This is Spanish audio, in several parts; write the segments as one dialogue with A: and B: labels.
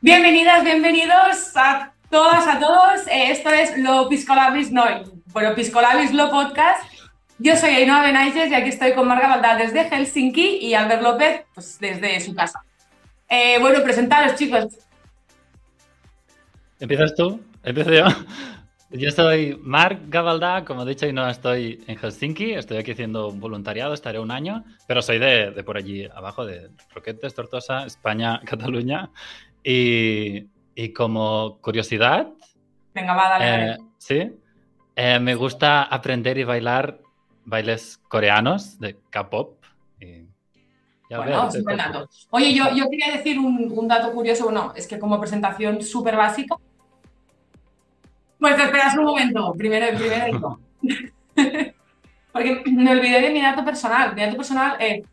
A: Bienvenidas, bienvenidos a todas, a todos. Eh, Esto es Lo Piscolabis No, bueno, Piscolabis Lo Podcast. Yo soy Ainhoa Benages y aquí estoy con Marga Valdá desde Helsinki y Albert López pues, desde su casa. Eh, bueno, presentaros, chicos.
B: ¿Empiezas tú? ¿Empiezo yo? Yo soy Marc Gabaldá, como he dicho, y no estoy en Helsinki, estoy aquí haciendo un voluntariado, estaré un año, pero soy de, de por allí abajo, de Roquetes, Tortosa, España, Cataluña. Y, y como curiosidad,
A: Venga, va, dale, dale.
B: eh, sí, eh, me gusta aprender y bailar bailes coreanos de K-pop. y ya
A: Bueno,
B: ves,
A: súper
B: entonces-
A: dato. Oye, yo, yo quería decir un, un dato curioso, bueno, es que como presentación súper básica. Pues te esperas un momento, primero, primero digo. Porque me olvidé de mi dato personal. Mi dato personal es.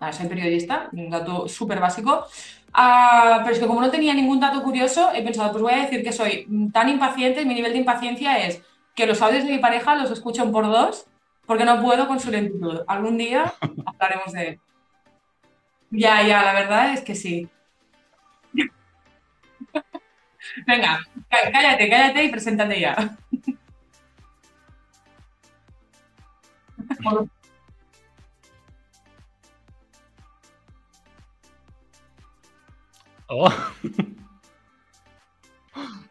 A: ah, soy periodista, un dato súper básico. Ah, pero es que como no tenía ningún dato curioso, he pensado, pues voy a decir que soy tan impaciente, mi nivel de impaciencia es que los audios de mi pareja los escucho en por dos, porque no puedo con su lentitud. Algún día hablaremos de él. Ya, ya, la verdad es que sí. Venga, cá- cállate, cállate y preséntate ya.
B: Oh.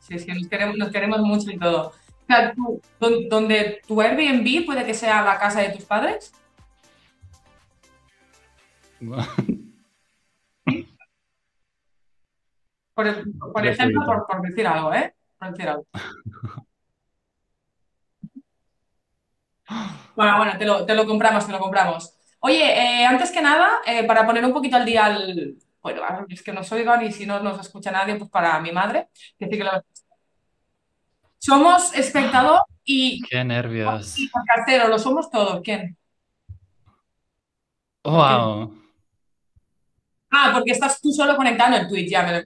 A: Sí, es que nos queremos, nos queremos mucho y todo. O sea, tú, don- donde tu Airbnb puede que sea la casa de tus padres, por, e- por
B: Ya
A: ejemplo,
B: sé,
A: por, por decir algo, ¿eh? Por decir algo. Bueno, bueno, te lo, te lo compramos, te lo compramos. Oye, eh, antes que nada, eh, para poner un poquito al día al... Bueno, a ver, es que nos oigan y si no nos escucha nadie, pues para mi madre, que sí que lo... Somos espectador y,
B: ¡Qué nervios!
A: y podcastero, lo somos todos. ¿Quién?
B: ¡Wow!
A: Ah, porque estás tú solo conectado en Twitch, ya me lo...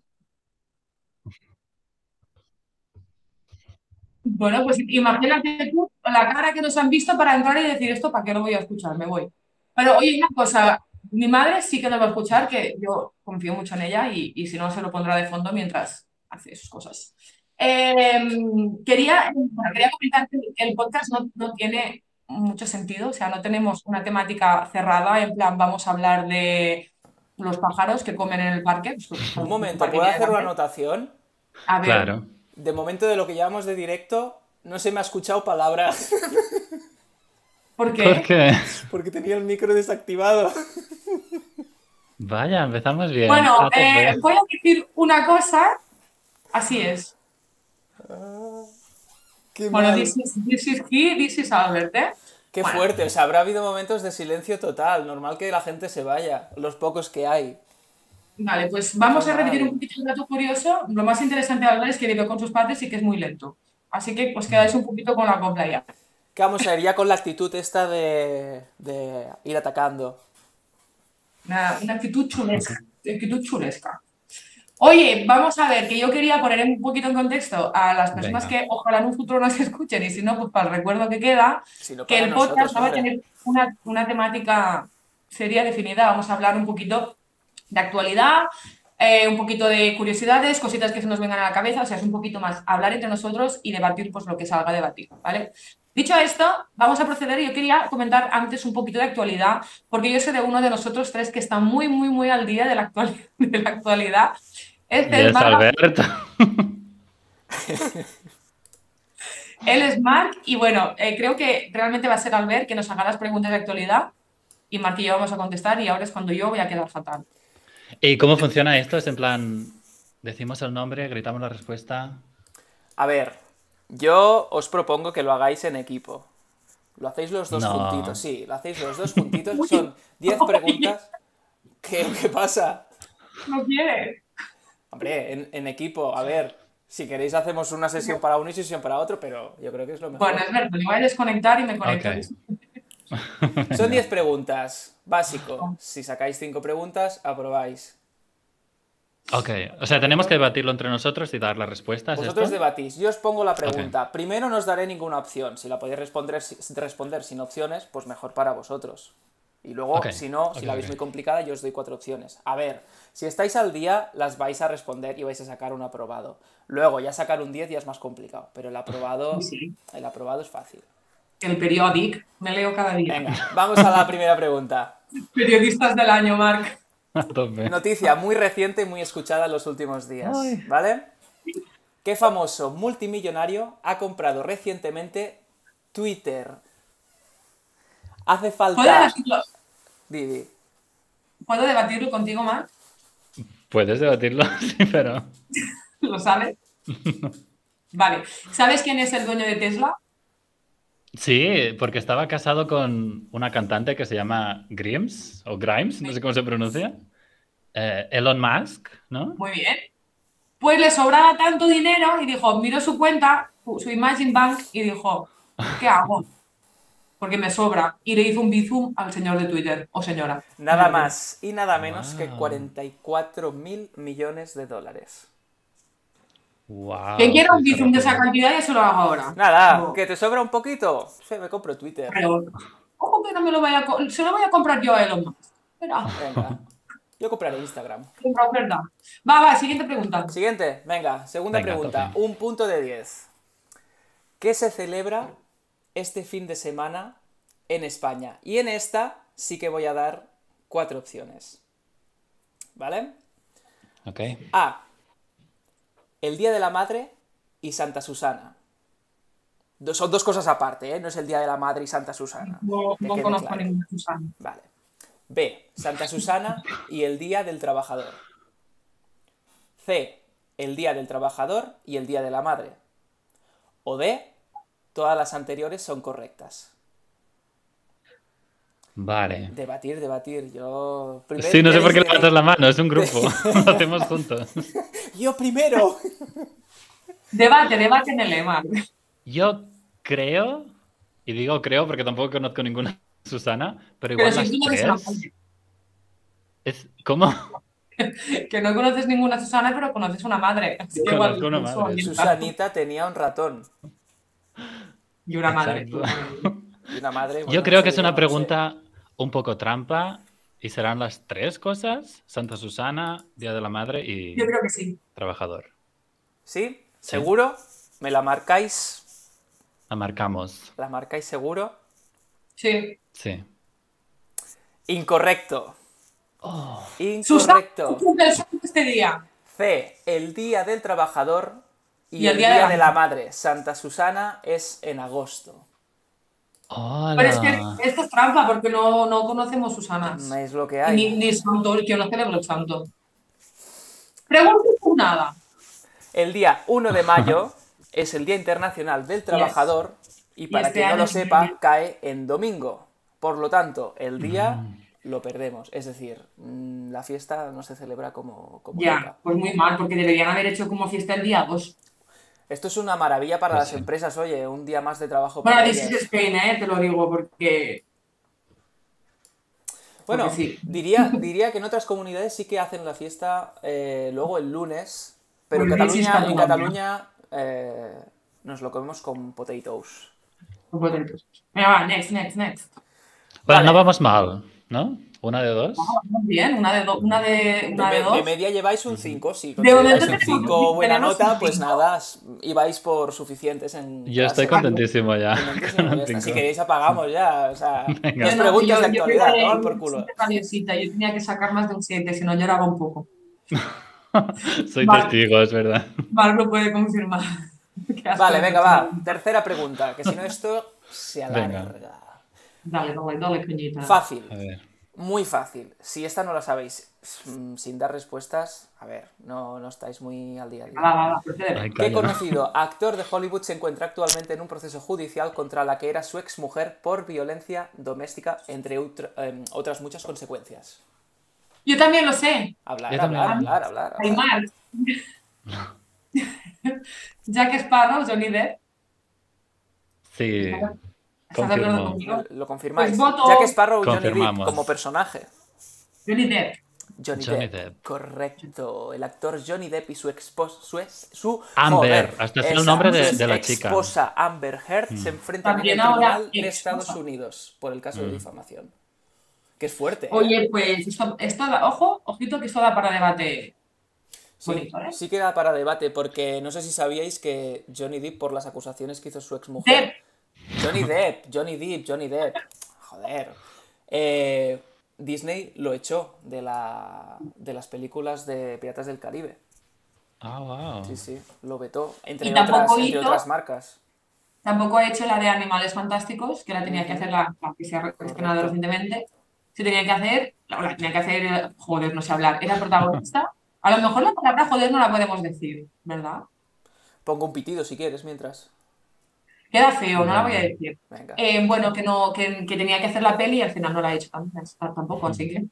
A: Bueno, pues imagínate tú la cara que nos han visto para entrar y decir esto, ¿para qué lo voy a escuchar? Me voy. Pero oye, una cosa, mi madre sí que lo va a escuchar, que yo confío mucho en ella y, y si no, se lo pondrá de fondo mientras hace sus cosas. Eh, quería, bueno, quería comentar que el podcast no, no tiene mucho sentido, o sea, no tenemos una temática cerrada, en plan, vamos a hablar de los pájaros que comen en el parque. pues,
C: Un momento,
A: parque
C: ¿puedo
A: tiene
C: hacer una
A: café.
C: anotación?
A: A ver,
B: Claro.
C: De momento de lo que llevamos de directo, no se me ha escuchado palabra
A: ¿por qué?
B: ¿Por qué?
C: porque tenía el micro desactivado.
B: Vaya, empezamos bien.
A: Bueno,
B: Trato
A: eh,
B: de-
A: voy a decir una cosa. Así es.
C: Qué,
A: Bueno,
C: mal.
A: this is, this is he, this is Albert, ¿eh?
C: Qué
A: bueno.
C: fuerte, o sea, habrá habido momentos de silencio total, normal que la gente se vaya, los pocos que hay.
A: Vale, pues vamos a
C: Vale.
A: repetir un poquito el dato curioso. Lo más interesante de Albert es que vive con sus padres y que es muy lento. Así que os quedáis un poquito con la copla ya.
C: Que vamos a ir ya con la actitud esta de, de ir atacando.
A: Una, una actitud chulesca. Actitud chulesca. Oye, vamos a ver, que yo quería poner un poquito en contexto a las personas
B: Venga.
A: que ojalá en un futuro nos escuchen y si no, pues para el recuerdo que queda.
C: Si no
A: que
C: para
A: el
C: nosotros,
A: podcast no va a
C: hombre.
A: tener una, una temática seria definida. Vamos a hablar un poquito de actualidad, eh, un poquito de curiosidades, cositas que se nos vengan a la cabeza. O sea, es un poquito más hablar entre nosotros y debatir pues, lo que salga a debatir, ¿vale? Dicho esto, vamos a proceder. Yo quería comentar antes un poquito de actualidad, porque yo sé de uno de nosotros tres que está muy, muy, muy al día de la, actual- de la actualidad. Este
B: Y
A: es
B: es
A: Marga
B: Alberto.
A: Él es Marc y bueno, eh, creo que realmente va a ser Albert que nos haga las preguntas de actualidad y Marc y yo vamos a contestar y ahora es cuando yo voy a quedar fatal.
B: ¿Y cómo funciona esto? Es en plan, decimos el nombre, gritamos la respuesta.
C: A ver, yo os propongo que lo hagáis en equipo. Lo hacéis los dos
B: No.
C: juntitos, sí, lo hacéis los dos juntitos. Son 10 preguntas. ¿Qué, qué pasa?
A: No quiere.
C: Hombre, en, en equipo, a ver, si queréis hacemos una sesión para uno y sesión para otro, pero yo creo que es lo mejor.
A: Bueno, es verdad, me voy a desconectar y me conecto.
B: Ok.
C: Son 10 preguntas, básico. Si sacáis 5 preguntas, aprobáis.
B: Ok, o sea, tenemos que debatirlo entre nosotros y dar la respuesta. ¿es
C: Vosotros
B: esto?
C: debatís, yo os pongo la pregunta. Primero no os daré ninguna opción. Si la podéis responder, si- responder sin opciones, pues mejor para vosotros. Y luego,
B: Ok,
C: si no, si
B: ok,
C: la veis
B: ok.
C: muy complicada, yo os doy cuatro opciones. A ver, si estáis al día, las vais a responder y vais a sacar un aprobado. Luego, ya sacar un 10 ya es más complicado, pero el aprobado,
A: Sí.
C: el aprobado es fácil.
A: El periódico, me leo cada día.
C: Venga, vamos a la primera pregunta.
A: Periodistas del año, Marc.
B: A tope.
C: Noticia muy reciente y muy escuchada en los últimos días,
B: Ay.
C: ¿vale? ¿Qué famoso multimillonario ha comprado recientemente Twitter? Hace
A: ¿Puedo
C: falta...
A: debatirlo,
C: Didi.
A: ¿Puedo debatirlo contigo, Marc?
B: Puedes debatirlo, sí, pero.
A: ¿Lo sabes? Vale. ¿Sabes quién es el dueño de Tesla?
B: Sí, porque estaba casado con una cantante que se llama Grimes, o Grimes, no sé cómo se pronuncia. Eh, Elon Musk, ¿no?
A: Muy bien. Pues le sobraba tanto dinero y dijo, miró su cuenta, su su Imagine Bank, y dijo, ¿qué hago? Porque me sobra. Y le hizo un bizum al señor de Twitter, o señora.
C: Nada más y nada menos que
B: Wow.
C: 44 mil millones de dólares.
B: Wow,
A: Quien quiera un
B: qué
A: bizum de esa
B: rápido.
A: cantidad, ya se lo hago ahora.
C: Nada,
A: No.
C: que te sobra un poquito. Sí, me compro Twitter.
A: Pero, ¿cómo que no me lo vaya a... co- Se lo voy a comprar yo a Elon Musk. Espera,
C: Venga. Yo compraré Instagram.
A: compra oferta. Va, va, siguiente pregunta.
C: Siguiente, venga, segunda
B: Venga,
C: pregunta.
B: tope.
C: Un punto de 10. ¿Qué se celebra este fin de semana en España? Y en esta sí que voy a dar cuatro opciones. ¿Vale?
B: Ok.
C: A. El Día de la Madre y Santa Susana. Do- Son dos cosas aparte, ¿eh? No es el Día de la Madre y Santa Susana.
A: No,
C: Que
A: no
C: quede
A: conozco
C: claro.
A: ninguna Susana.
C: Vale. B. Santa Susana y el Día del Trabajador. C. El Día del Trabajador y el Día de la Madre. O D. Todas las anteriores son correctas.
B: Vale.
C: Debatir, debatir. Yo primero.
B: Sí, no sé por qué
C: desde-
B: levantas la mano, es un grupo. Lo hacemos juntos.
C: Yo primero.
A: Debate, debate en el E EMA.
B: Yo creo, y digo creo porque tampoco conozco ninguna Susana, pero
A: Pero
B: igual
A: si tú no
B: las
A: eres una
B: tres. Es, ¿Cómo?
A: madre, que no conoces ninguna Susana, pero conoces una madre. Así
B: Yo
A: que igual
B: conozco una
A: pienso orientar.
B: madre.
C: Susanita tenía un ratón.
A: Y una madre.
B: Exacto.
C: Y una madre. bueno,
B: Yo creo que
C: sí,
B: es una
C: no sé.
B: pregunta un poco trampa y serán las tres cosas: Santa Susana, Día de la Madre y
A: Yo creo que sí.
B: Trabajador.
C: ¿Sí? ¿Seguro? ¿Me la marcáis?
B: La marcamos.
C: ¿La marcáis seguro?
A: Sí.
B: Sí.
C: Incorrecto. Oh.
A: Susana
C: Incorrecto.
A: cumple el santo este día.
C: C. El Día del Trabajador y, el, Día, de la Madre. Santa Susana es en agosto.
A: Pero es
B: Hola.
A: que esto es trampa porque no, no conocemos Susanas.
C: No es lo que
A: Ni,
C: hay.
A: ni santo, yo no celebro el santo. Pregunta por nada.
C: El día 1 de mayo es el Día Internacional del Trabajador y para
A: este
C: quien no
A: año
C: lo
A: es
C: sepa,
A: domingo.
C: cae en domingo. Por lo tanto, el día lo perdemos. Es decir, mm, la fiesta no se celebra como, como
A: Ya,
C: toca.
A: pues muy mal, porque deberían haber hecho como fiesta el día 2.
C: Esto es una maravilla para
B: Pues
C: las
B: sí.
C: empresas, oye, un día más de trabajo
A: Bueno,
C: para
A: this
C: ellas.
A: is Spain, ¿eh? te lo digo, porque
C: Bueno,
A: Porque sí.
C: diría, diría que en otras comunidades sí que hacen la fiesta eh, luego el lunes, pero en
A: Porque sí es
C: Cataluña, en
A: Cataluña.
C: Cataluña eh, nos lo comemos con
A: ¿eh?
C: potatoes.
A: No puedo tener cosas. Venga, va, next, next, next.
B: Bueno,
C: Vale.
B: no vamos mal, ¿no? Una de dos.
A: Vamos Ah, bien, una de, do- una de,
C: De,
A: una de
C: me- de
A: dos.
C: media lleváis un 5, sí.
A: De momento
C: consideráis un
A: tenemos-
C: 5 buena
A: tenemos
C: nota,
A: un
C: pues
A: cinco.
C: nada, s- ibais por suficientes en.
B: Yo
C: cada
B: estoy
C: semana.
B: contentísimo ya.
C: Contentísimo,
B: con
C: ya
B: el
C: está. Si
B: cinco.
C: queréis apagamos ya, o sea,
B: Venga.
C: no
A: Yo
C: os
A: no,
C: preguntas
A: yo-
C: de
A: yo
C: actualidad,
A: era
C: ¿no?
A: de-
C: Por culo.
A: siempre valiosita, Yo tenía que sacar más de un 7, si no lloraba un poco.
B: Soy
A: Vale.
B: testigo, es verdad.
A: Marc lo puede confirmar. Qué asco
C: Vale,
A: de
C: venga, va.
A: persona.
C: Tercera pregunta, que si no esto se
B: Venga.
C: alarga.
A: Dale, dale, dale, coñita.
C: Fácil.
B: A ver.
C: Muy fácil. Si esta no la sabéis mm, sin dar respuestas, a ver, no, no estáis muy al día a
A: Va,
B: Ah,
C: día.
A: va, va, procede.
B: Ay,
C: ¿Qué
B: calla.
C: conocido actor de Hollywood se encuentra actualmente en un proceso judicial contra la que era su exmujer por violencia doméstica, entre utr- em, otras muchas consecuencias?
A: Yo también lo sé.
C: Hablar,
B: Yo
C: hablar,
B: también.
C: hablar, hablar, hablar.
A: Aymar. Jack Sparrow, Johnny Depp.
B: Sí.
A: ¿Estás de acuerdo
B: Confirmo.
A: conmigo?
C: ¿Lo confirmáis?
A: Pues voto-
C: Jack Sparrow y Johnny Depp
B: Confirmamos.
C: como personaje.
A: Johnny Depp.
C: Johnny,
B: Johnny
C: Depp.
B: Depp.
C: Correcto. El actor Johnny Depp y su esposa. Su, ex- su
B: Amber,
C: joder,
B: hasta sé el
C: esa,
B: nombre de-
C: su
B: de la chica. Mm.
C: esposa Amber Heard se enfrentan en
A: También
C: el
A: ahora
C: tribunal de
A: exesposa.
C: Estados Unidos por el caso
B: Mm.
C: de difamación. Que es fuerte. ¿eh?
A: Oye, pues esto, esto da, ojo, ojito que esto da para debate.
C: sí,
A: bonito, ¿eh?
C: sí queda para debate, porque no sé si sabíais que Johnny Depp, por las acusaciones que hizo su exmujer.
A: Depp,
C: Johnny Depp, Johnny Depp, Johnny Depp. Joder. Eh, Disney lo echó de, la, de las películas de Piratas del Caribe.
B: Ah, wow.
C: Sí, sí, lo vetó. Entre,
A: Y
C: otras,
A: tampoco hizo-
C: entre otras marcas.
A: tampoco he hecho la de Animales Fantásticos, que la tenía que
C: Ujú.
A: hacer la, la que se ha recuestionado
C: Correcto.
A: recientemente. Se tenía que hacer, la, la tenía que hacer, eh, joder, no sé hablar, era protagonista. A lo mejor la palabra joder no la podemos decir, ¿verdad?
C: Pongo un pitido si quieres mientras.
A: Queda feo, no la voy a decir.
C: Venga.
A: Eh, bueno, que no, que, que tenía que hacer la peli y al final no la he hecho tam- tampoco, así
C: Mm.
A: que.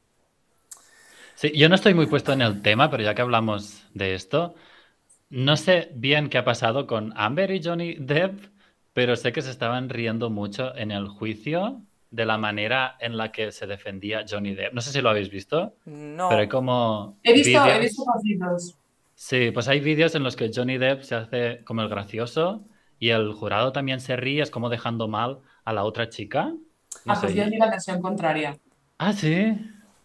B: Sí, yo no estoy muy puesto en el tema, pero ya que hablamos de esto, no sé bien qué ha pasado con Amber y Johnny Depp, pero sé que se estaban riendo mucho en el juicio de la manera en la que se defendía Johnny Depp. No sé si lo habéis visto,
C: No.
B: pero hay como
A: He visto, he
B: vídeos-
A: visto cositos.
B: Sí, pues hay vídeos en los que Johnny Depp se hace como el gracioso y el jurado también se ríe, es como dejando mal a la otra chica. No
A: Ah, pues
B: sé.
A: yo vi la versión contraria.
B: Ah, sí.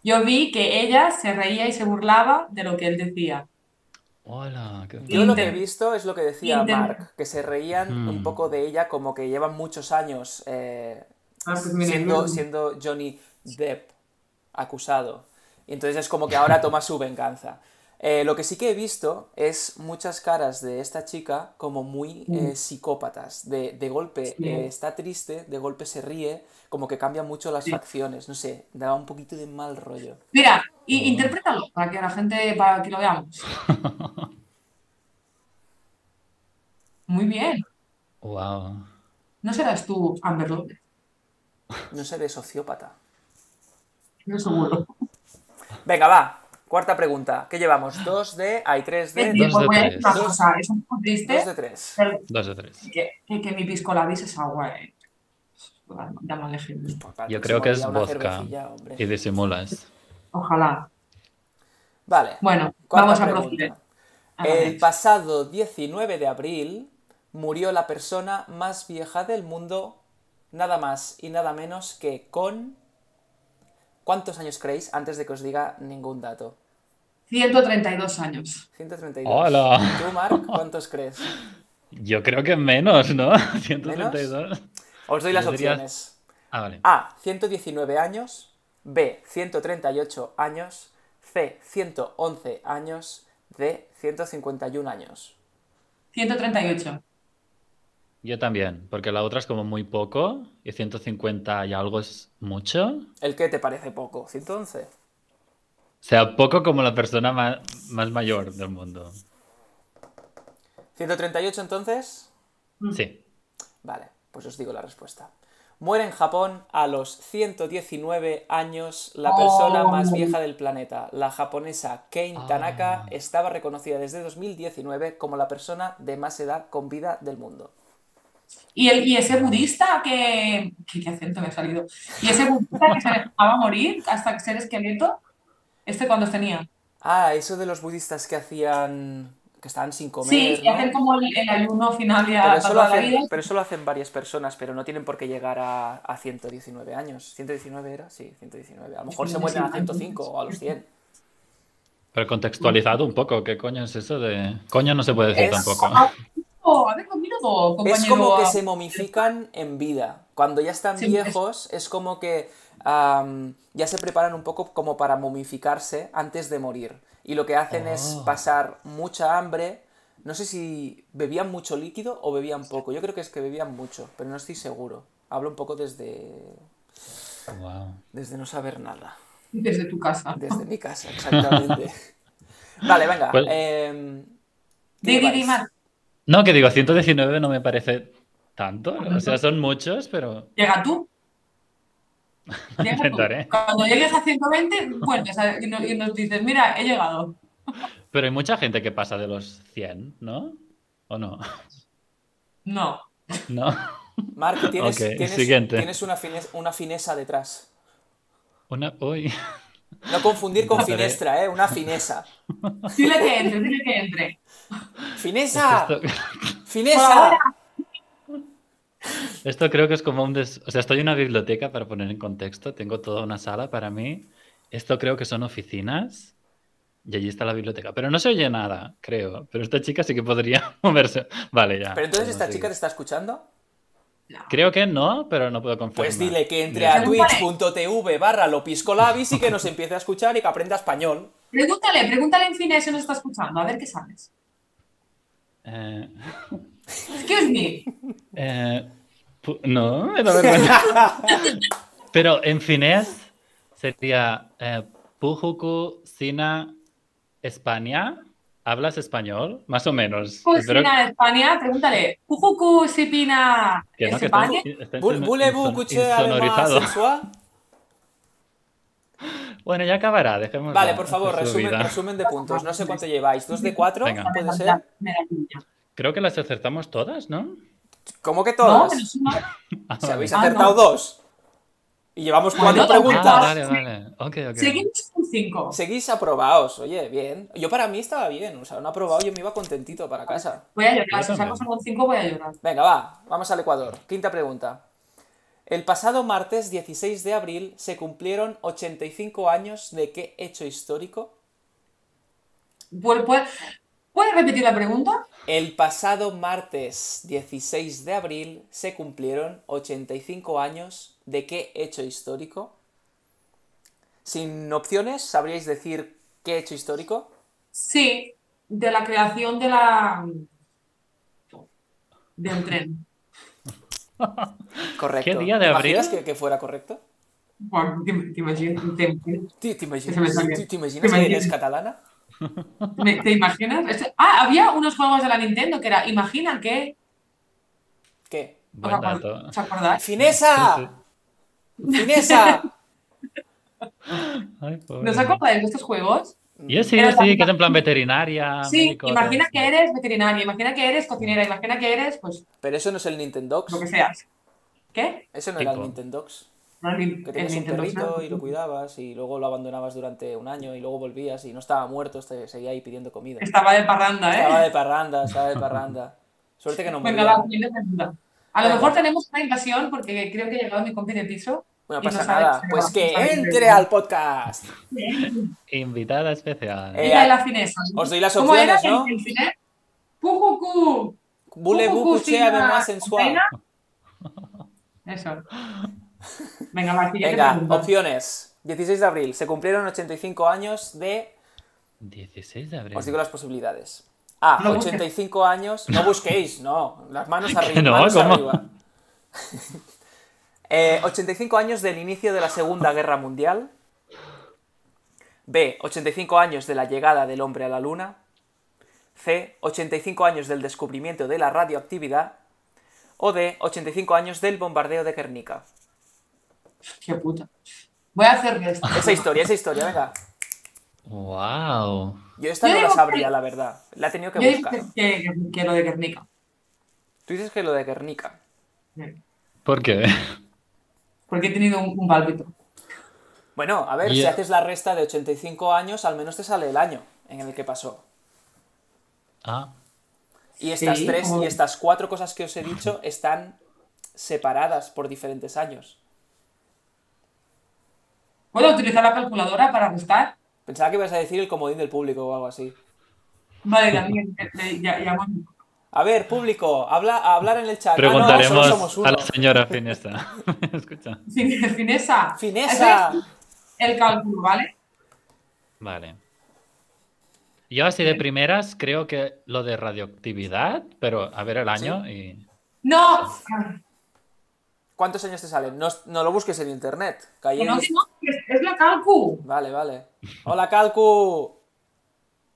A: Yo vi que ella se reía y se burlaba de lo que él decía.
B: Hola, qué
C: Yo lo que he
A: Inter-
C: visto es lo que decía
A: Inter-
C: Mark, que se reían
B: Hmm.
C: un poco de ella como que llevan muchos años eh,
A: Ah, pues mira,
C: siendo,
A: yo-
C: siendo Johnny Depp acusado. Y entonces es como que ahora toma su venganza. Eh, lo que sí que he visto es muchas caras de esta chica como muy eh, psicópatas. De, de golpe
A: Mm. Sí.
C: eh, está triste, de golpe se ríe, como que cambia mucho las
A: Sí.
C: facciones. No sé, daba un poquito de mal rollo.
A: Mira,
C: Oh.
A: y interprétalo para que la gente, para que lo veamos. Muy bien.
B: Wow.
A: No serás tú, Amber López,
C: No se ve sociópata.
A: no seguro.
C: Venga, va. Cuarta pregunta. ¿Qué llevamos? Dos de... Hay tres
A: Es
C: de...
B: Dos
A: decir,
B: de
A: pues voy a decir una
B: tres.
A: cosa, es un poco
C: Dos
A: triste
C: de tres.
A: pero
B: Dos o tres.
A: que, que- que mi pisco labis es agua, eh. Ya mal ejemplo.
C: Pues para el
B: Yo creo
C: próximo
B: que
C: día
B: es
C: una
B: vodka
C: cervecilla, hombre.
B: y disimulas.
A: Ojalá.
C: Vale.
A: Bueno,
C: cuarta
A: vamos a
C: pregunta.
A: proceder. A ver.
C: El pasado 19 de abril murió la persona más vieja del mundo, nada más y nada menos que con... ¿Cuántos años creéis antes de que os diga ningún dato?
A: 132 años.
C: 132.
B: Hola.
C: ¿Tú, Marc, cuántos crees?
B: Yo creo que menos, ¿no? 132.
C: Os doy las
B: Yo diría-
C: opciones.
B: Ah, vale.
C: A, 119 años, B, 138 años, C, 111 años, D, 151 años.
A: 138.
B: Yo también, porque la otra es como muy poco y 150 y algo es mucho.
C: ¿El qué te parece poco? ¿111?
B: O sea, poco como la persona ma- más, mayor del mundo.
C: ¿138 entonces?
B: Sí.
C: Vale, pues os digo la respuesta. Muere en Japón a los 119 años la persona
A: Oh. Ah.
C: más vieja del planeta. La japonesa Kane Tanaka estaba reconocida desde 2019 como la persona de más edad con vida del mundo.
A: Y, el, y ese budista que. que- ¿Qué acento me ha salido? Y ese budista que se dejaba morir hasta ser esqueleto. ¿Este cuántos tenía?
C: Ah, eso de los budistas que hacían. que estaban sin comer.
A: sí, y
C: ¿no?
A: hacer como el, el ayuno final ya
C: Pero
A: para
C: eso, lo
A: toda la vida.
C: hacen, pero eso lo hacen varias personas, pero no tienen por qué llegar a, a 119 años. ¿119 era? Sí, 119. A lo mejor se mueren a 105 o a los 100.
B: Pero contextualizado un poco, ¿qué coño es eso de...? Coño no se puede decir
C: Es-
B: tampoco.
A: Oh, a ver conmigo, compañero.
C: Es como que se momifican en vida. Cuando ya están
A: Sí, es-
C: viejos, es como que am, ya se preparan un poco como para momificarse antes de morir. Y lo que hacen es
A: Ah.
B: Oh.
C: pasar mucha hambre. No sé si bebían mucho líquido o bebían poco. Yo creo que es que bebían mucho, pero no estoy seguro. Hablo un poco desde,
B: Wow.
C: desde no saber nada.
A: Desde tu casa.
C: Desde mi casa, exactamente. vale, venga.
B: Pues-
C: em, ¿qué
A: Di, di, di,
C: lleváis?
A: eh, Mar.
B: No, que digo, 119 no me parece tanto. O sea, son muchos, pero...
A: Llega tú. Llega tú.
B: Intentaré.
A: Cuando llegues a 120, vuelves a- y, no- y nos dices, mira, he llegado.
B: Pero hay mucha gente que pasa de los 100, ¿no? ¿O no?
A: No.
B: ¿No?
C: Marc, tienes,
B: Ok,
C: tienes-
B: siguiente.
C: tienes una, fine- una fineza detrás.
B: Una... Uy.
C: No confundir con
B: Intentaré.
C: finestra, ¿eh? Una finesa.
A: Dile que entre, dile que entre.
C: ¡Finesa!
B: Esto,
C: ¡Finesa!
B: esto creo que es como un... des- O sea, estoy en una biblioteca para poner en contexto. Tengo toda una sala para mí. Esto creo que son oficinas. Y allí está la biblioteca. Pero no se oye nada, creo. Pero esta chica sí que podría moverse. Vale, ya. Pues
C: Pero
B: podemos
C: entonces, ¿esta chica
B: seguir.
C: te está escuchando?
B: Creo que no, pero no puedo confirmar.
C: Pues dile que entre
B: Ya.
C: a
A: Pregúntale.
C: twitch.tv barra lopiscolabis y que nos empiece a escuchar y que aprenda español.
A: Pregúntale, pregúntale en finés si nos está escuchando, a ver qué sabes.
B: Eh,
A: Excuse me.
B: eh, pu- no, me da vergüenza. Pero en finés sería eh, Pujuku Sina España. ¿Hablas español? Más o menos. Espero
A: Cocina de Pues España, pregúntale. Cujucu, sipina,
B: que no, que está-
A: España.
B: está
C: Bul-
B: inson-
C: Bulebu,
B: inson-
C: cuché,
B: insonorizado.
C: además, sexual.
B: Bueno, ya acabará, dejemos.
C: Vale, por favor, resumen, resumen de puntos. No sé cuánto lleváis. ¿Dos de cuatro?
B: pues Venga.
C: ¿Puede ser?
A: Me da piña.
B: Creo que las acertamos todas, ¿no?
C: ¿Cómo que
A: No,
C: todas?
A: pero suma.
B: Ah,
C: Si habéis
A: Ah,
C: acertado
A: no.
C: dos. Y llevamos
A: Bueno,
C: cuatro
A: tampoco.
B: Ah,
C: preguntas.
B: vale, vale. Ok, ok.
A: Seguimos con cinco.
C: Seguís aprobados, oye, bien. Yo para mí estaba bien, o sea, no aprobado, yo me iba contentito para casa.
A: Voy a llorar,
B: Yo
A: si saco
B: también.
A: con cinco voy a llorar.
C: Venga, va, vamos al Ecuador. Quinta pregunta. El pasado martes 16 de abril se cumplieron 85 años de qué hecho histórico?
A: ¿Puedes, ¿Puedes repetir la pregunta?
C: El pasado martes 16 de abril se cumplieron 85 años de qué hecho histórico? Sin opciones, ¿sabríais decir qué hecho histórico?
A: Sí, de la creación de la... de un tren.
C: Correcto.
B: ¿Qué día de
C: ¿Te
B: abril?
C: imaginas que, que fuera correcto?
A: Bueno, te, te imaginas, te,
C: ¿Te, te
A: Se me
C: imaginas,
A: sale.
C: te- te imaginas
A: Se me
C: que
A: sale.
C: eres catalana?
A: me- ¿te imaginas? Esto- Ah, había unos juegos de la Nintendo que era, imagina que...
C: ¿Qué?
A: ¿Os
B: Buen
A: acordáis?
B: dato.
A: ¿Os acordáis?
C: ¡Finesa! ¡Finesa!
B: Ay, pobre.
A: ¿No os acordáis de estos juegos?
B: Yo sí,
A: Pero
B: sí,
A: también-
B: que es en plan veterinaria.
A: Sí,
B: médico,
A: imagina
B: todo
A: que
B: eso.
A: eres veterinaria, imagina que eres cocinera, imagina que eres, pues,
C: Pero eso no es el Nintendox.
A: lo que seas. ¿Qué?
C: Eso no era el
B: Tipo.
C: Nintendox.
A: No, el, Nin-
C: Que
A: el
C: tenías un
A: Nintendo
C: perrito
A: Snap.
C: y lo cuidabas y luego lo abandonabas durante un año y luego volvías y no estaba muerto, este- seguía ahí pidiendo comida.
A: Estaba de parranda, ¿eh?
C: Estaba de parranda, estaba de parranda. Suerte que no
A: Venga,
C: moría.
A: va, siguiente pregunta. A lo
C: Venga.
A: mejor tenemos una invasión porque creo que ha llegado mi compi de piso.
C: Bueno,
A: y no
C: pasa
A: sabe
C: nada.
A: si
C: Pues
A: va-
C: que
A: no sabe si
C: entre
A: va.
C: al podcast.
B: Invitada especial.
C: Eh,
A: Mira la finesa.
C: Os doy las
A: ¿Cómo era
C: opciones, ¿no?
A: el- el finés? Pujucu.
C: Bule
A: Pujucu,
C: bucuche,
A: sina-
C: además sensual.
A: container. Eso. Venga, va, siguiente
C: Venga,
A: pregunta.
C: opciones. 16 de abril, se cumplieron 85 años de
B: 16 de abril.
C: Os digo las posibilidades. A,
A: No busques.
C: 85 años. No busquéis, no. Las manos arriba.
B: Que no,
C: manos
B: ¿cómo?
C: arriba. Eh, 85 años del inicio de la Segunda Guerra Mundial. B, 85 años de la llegada del hombre a la Luna. C, 85 años del descubrimiento de la radioactividad. O D, 85 años del bombardeo de Guernica.
A: Qué puta. Voy a hacer esto.
C: Esa historia, esa historia, venga.
B: ¡Wow!
C: Yo esta
A: Yo
C: no la
A: digo
C: sabría,
A: que-
C: la verdad. La he tenido que
A: Yo digo
C: buscar.
A: que, que- que lo de Guernica.
C: Tú dices que lo de Guernica.
B: ¿Por qué?
A: Porque he tenido un, un pálpito.
C: Bueno, a ver,
B: Y-
C: si haces la resta de 85 años, al menos te sale el año en el que pasó.
B: Ah,
C: Y estas
A: Sí,
C: tres
A: como-
C: y estas cuatro cosas que os he dicho están separadas por diferentes años.
A: ¿Puedo utilizar la calculadora para restar?
C: Pensaba que ibas a decir el comodín del público o algo así.
A: Vale, también. eh, eh, Ya, ya, bueno.
C: A ver, público, habla, a hablar en el chat. Ah, no, solo
B: preguntaremos
C: somos uno.
B: a la señora Finesta. Escucha.
A: Fin- Finesa.
C: Finesa.
A: Eso es El cálculo, ¿vale?
B: Vale. Yo así de primeras creo que lo de radioactividad, pero a ver el año y...
A: No.
C: ¿Cuántos años te salen? No, no lo busques en internet. que ahí
A: Que no,
C: es-
A: que no, que es- es la calcu.
C: Vale, vale. Hola, Calcu.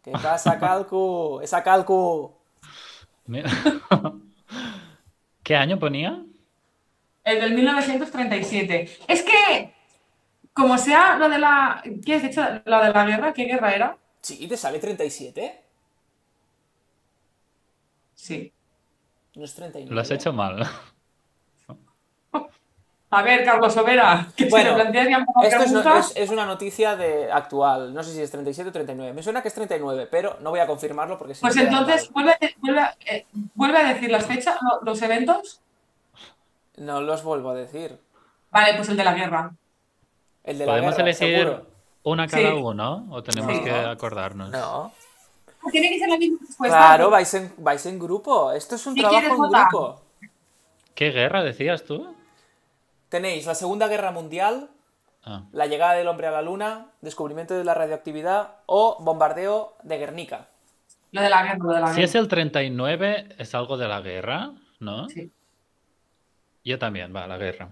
C: ¿Qué pasa, Calcu? Esa Calcu.
B: Mira. ¿Qué año ponía?
A: El del 1937. Es que, como sea lo de la. ¿Qué has dicho? Lo de la guerra. ¿Qué guerra era?
C: Sí, ¿te sale 37?
A: Sí.
C: No es 39.
B: Lo has hecho mal.
A: A ver, Carlos Overa, que
C: Bueno,
A: si me planteas ya una
C: Esto es, no-
A: pregunta,
C: es- es una noticia de actual, no sé si es 37 o 39. Me suena que es 39, pero no voy a confirmarlo porque si
A: pues
C: no queda
A: entonces
C: mal.
A: vuelve, a de- vuelve a- eh, vuelve a decir las fechas, lo- los eventos.
C: No los vuelvo a decir.
A: Vale, pues el de la guerra.
C: El de la
B: Podemos
C: guerra,
B: elegir
C: seguro.
B: una cada
A: Sí.
B: uno, ¿o tenemos
A: Sí.
B: que acordarnos?
C: No.
A: Ah, Tiene que ser la misma respuesta.
C: Claro, vais en, vais en grupo. Esto es un
A: Pues Si
C: trabajo
A: quieres,
C: en
A: vota.
C: grupo.
B: ¿Qué guerra decías tú?
C: Tenéis la Segunda Guerra Mundial,
B: Ah,
C: la llegada del hombre a la luna, descubrimiento de la radioactividad o bombardeo de Guernica.
A: Lo de la guerra, lo de la guerra.
B: Si es el 39, es algo de la guerra, ¿no?
A: Sí.
B: Yo también, va, la guerra.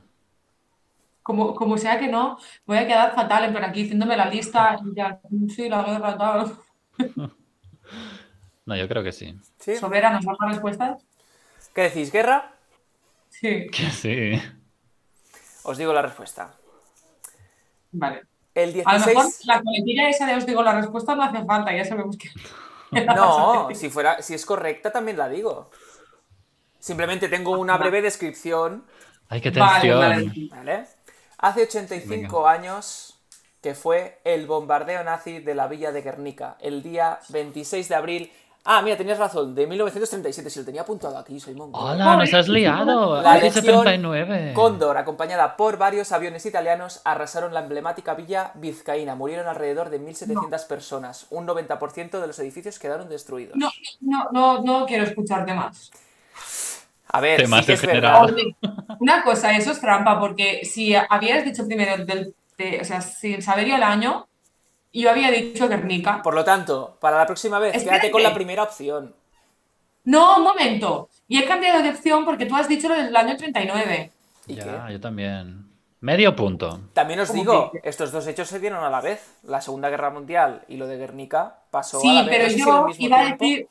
A: Como, como sea que no, voy a quedar fatal, en plan aquí haciéndome la lista y ya, sí, la guerra, tal.
B: No, yo creo que sí.
C: ¿Sí?
A: Sobera, ¿nos da las respuestas?
C: ¿Qué decís? ¿Guerra?
A: Sí,
B: Que sí.
C: Os digo la respuesta.
A: vale.
C: El
A: A lo mejor
C: 16...
A: la coletilla esa de os digo la respuesta no hace falta, ya sabemos que...
C: No, si, fuera, si es correcta también la digo. Simplemente tengo una breve descripción
B: Ay, qué
A: Vale,
B: tensión.
A: vale.
C: ¿Vale? Hace 85 años que fue el bombardeo nazi de la villa de Guernica, el día 26 de abril. Ah, mira, tenías razón, de 1937, si lo tenía apuntado aquí, soy mongol.
B: Hola, nos has liado.
C: La
B: Has dicho
C: legión
B: 39.
C: Cóndor, acompañada por varios aviones italianos, arrasaron la emblemática villa vizcaína. Murieron alrededor de 1.700 personas. Un 90% de los edificios quedaron destruidos.
A: No, no, no, no quiero escucharte más.
C: A ver,
B: Temas
C: sí que
B: de
C: es verdad.
B: general.
A: Oye, una cosa, eso es trampa, porque si habías dicho primero, del, de- o sea, sin saber yo el año, yo había dicho Guernica.
C: Por lo tanto, para la próxima vez, quédate
A: Espérate.
C: con la primera opción.
A: No, un momento. Y he cambiado de opción porque tú has dicho lo del año 39.
C: ¿Y qué?
B: Ya, yo también. Medio punto.
C: También os
A: ¿Cómo
C: digo,
A: que?
C: estos dos hechos se dieron a la vez. La Segunda Guerra Mundial y lo de Guernica pasó a
A: Sí,
C: la vez.
A: pero
C: no sé si
A: yo
C: al mismo
A: iba a
C: tiempo.
A: decir.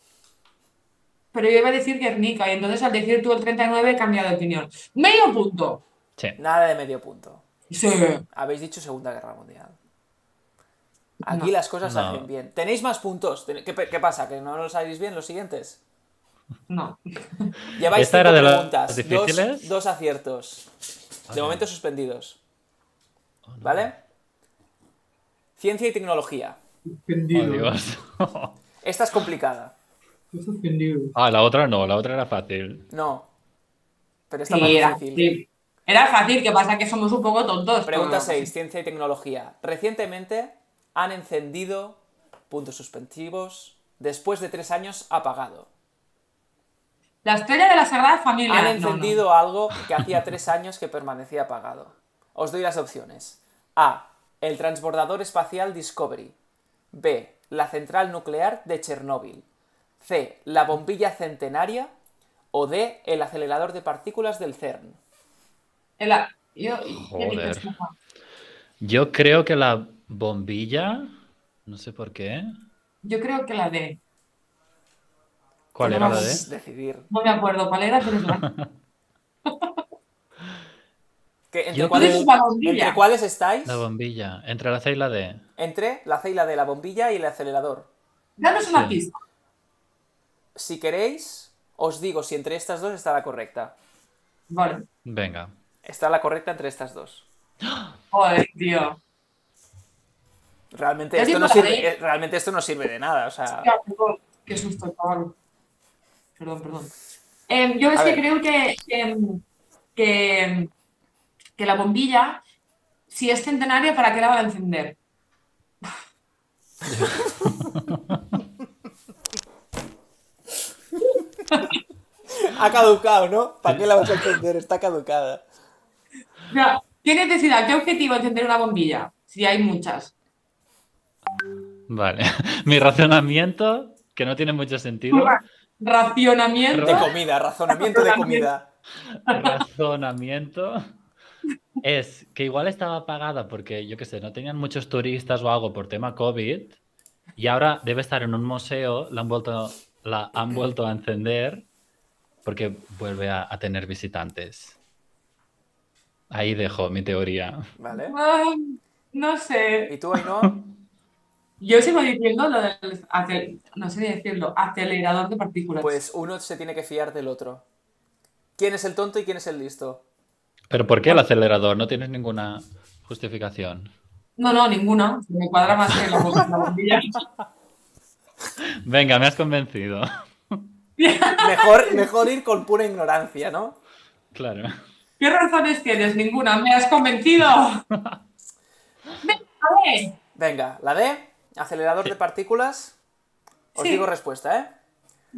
A: Pero yo iba a decir Guernica, y entonces al decir tú el 39 he cambiado de opinión. Medio punto.
B: Sí.
C: Nada de medio punto.
A: Sí.
C: Habéis dicho Segunda Guerra Mundial. Aquí
A: No.
C: las cosas se
B: No.
C: hacen bien. ¿Tenéis más puntos? ¿Ten- ¿Qué, pe- qué pasa? ¿Que no lo sabéis bien los siguientes?
A: No.
C: Lleváis
B: Esta
C: cinco
B: era de las
C: preguntas,
B: difíciles.
C: Dos, dos aciertos. De
B: Ah.
C: momento suspendidos.
B: Oh,
C: ¿Vale? Ciencia y tecnología.
B: Oh, Dios.
C: Esta es complicada.
B: Ah, la otra no, la otra era fácil.
C: No. Pero esta más
A: Sí, era
C: difícil.
A: fácil. Era fácil, que pasa que somos un poco tontos.
C: Pregunta
A: pero-
C: 6, ciencia y tecnología. Recientemente han encendido puntos suspensivos, después de tres años apagado.
A: La estrella de la Sagrada Familia.
C: Han
A: No,
C: encendido algo que hacía tres años que permanecía apagado. Os doy las opciones. A. El transbordador espacial Discovery. B. La central nuclear de Chernóbil. C. La bombilla centenaria. O D. El acelerador de partículas del CERN.
A: no. El a- yo-
B: Joder.
A: yo digo, "Escucha".
B: Yo creo que la bombilla, no sé por qué.
A: Yo creo que la D.
B: ¿Cuál era la
C: Podemos
B: de?
C: decidir.
A: No me acuerdo cuál era, pero es la
C: ¿Qué- entre
B: Yo
C: cuáles-
B: creo-
A: La bombilla.
C: ¿Entre cuáles estáis?
B: La bombilla. Entre la C y la D.
C: entre la C y la D, la bombilla y el acelerador.
A: Danos una
B: Sí.
A: pista.
C: Si queréis, os digo si entre estas dos está la correcta.
A: Vale.
B: Venga.
C: Está la correcta entre estas dos.
A: Joder, tío.
C: Realmente
A: Yo
C: esto,
A: digo
C: no
A: la
C: sirve,
A: D.
C: eh, realmente esto no sirve de nada. O sea,
A: Hostia, perdón. Qué susto, cabrón. Perdón, perdón. Em, yo es
C: A
A: que
C: ver.
A: creo que, em, que, em, que la bombilla, si es centenaria, ¿para qué la van a encender?
C: ha caducado, ¿no? ¿Para qué la vas a entender? Está caducada.
A: O sea, ¿qué necesidad, qué objetivo encender una bombilla? Si hay muchas.
B: Vale. Mi razonamiento, que no tiene mucho sentido.
A: Racionamiento.
C: De comida, razonamiento de comida.
B: razonamiento es que igual estaba apagada porque, yo qué sé, no tenían muchos turistas o algo por tema COVID y ahora debe estar en un museo, la han vuelto, la han vuelto a encender porque vuelve a, a tener visitantes. Ahí dejo mi teoría.
C: ¿Vale?
A: Ah, no sé.
C: ¿Y tú, Ainhoa?
A: Yo sigo diciendo lo del acel- no sé ni decirlo, acelerador de partículas.
C: Pues uno se tiene que fiar del otro. ¿Quién es el tonto y quién es el listo?
B: ¿Pero por qué el acelerador? No tienes ninguna justificación.
A: No, no, ninguna. Me cuadra más que la la bombilla.
B: Venga, me has convencido.
C: Mejor, mejor ir con pura ignorancia, ¿no?
B: Claro.
A: ¿Qué razones tienes? Ninguna. Me has convencido. Venga, a ver.
C: Venga, la D, acelerador de partículas. Os
A: Sí.
C: digo respuesta, ¿eh?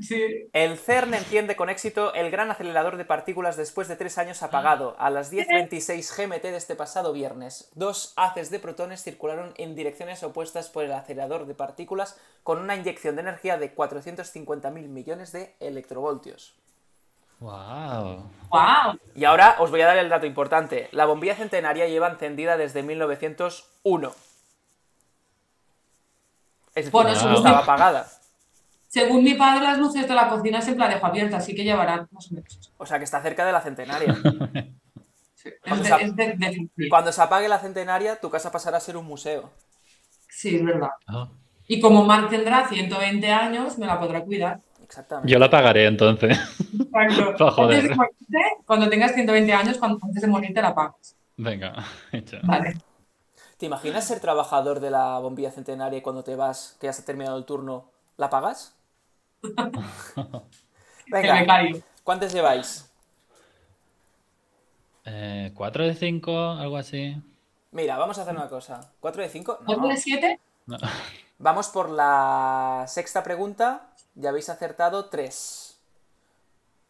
A: Sí.
C: El CERN enciende con éxito el gran acelerador de partículas después de tres años apagado. A las 10.26 GMT de este pasado viernes, dos haces de protones circularon en direcciones opuestas por el acelerador de partículas con una inyección de energía de 450.000 millones de electrovoltios.
B: Wow.
A: Wow.
C: Y ahora os voy a dar el dato importante. La bombilla centenaria lleva encendida desde 1901. Es decir,
A: Bueno,
B: es
C: no
B: un-
C: estaba apagada.
A: Según mi padre, las luces de la cocina siempre las dejo abiertas, así que llevarán más o menos.
C: O sea que está cerca de la centenaria.
A: Sí.
C: Vamos
A: Es,
C: a-
A: de, es de- de-
C: Cuando se apague la centenaria, tu casa pasará a ser un museo.
A: Sí, es verdad.
B: Ah.
A: Y como Mark tendrá 120 años, me la podrá cuidar.
C: Exactamente.
B: Yo la pagaré entonces. Pa' joder.
A: Antes de morirte, cuando tengas 120 años, cuando antes de morir te la pagas.
B: Venga, hecho.
A: Vale.
C: ¿Te imaginas ser trabajador de la bombilla centenaria y cuando te vas, que ya se ha terminado el turno, la pagas?
A: El
C: Venga,
A: becario.
C: ¿cuántas lleváis?
B: Eh, ¿Cuatro de cinco? Algo así.
C: Mira, vamos a hacer una cosa. ¿Cuatro de cinco? No.
A: ¿Otro de 7?
B: No.
C: Vamos por la sexta pregunta. Ya habéis acertado tres.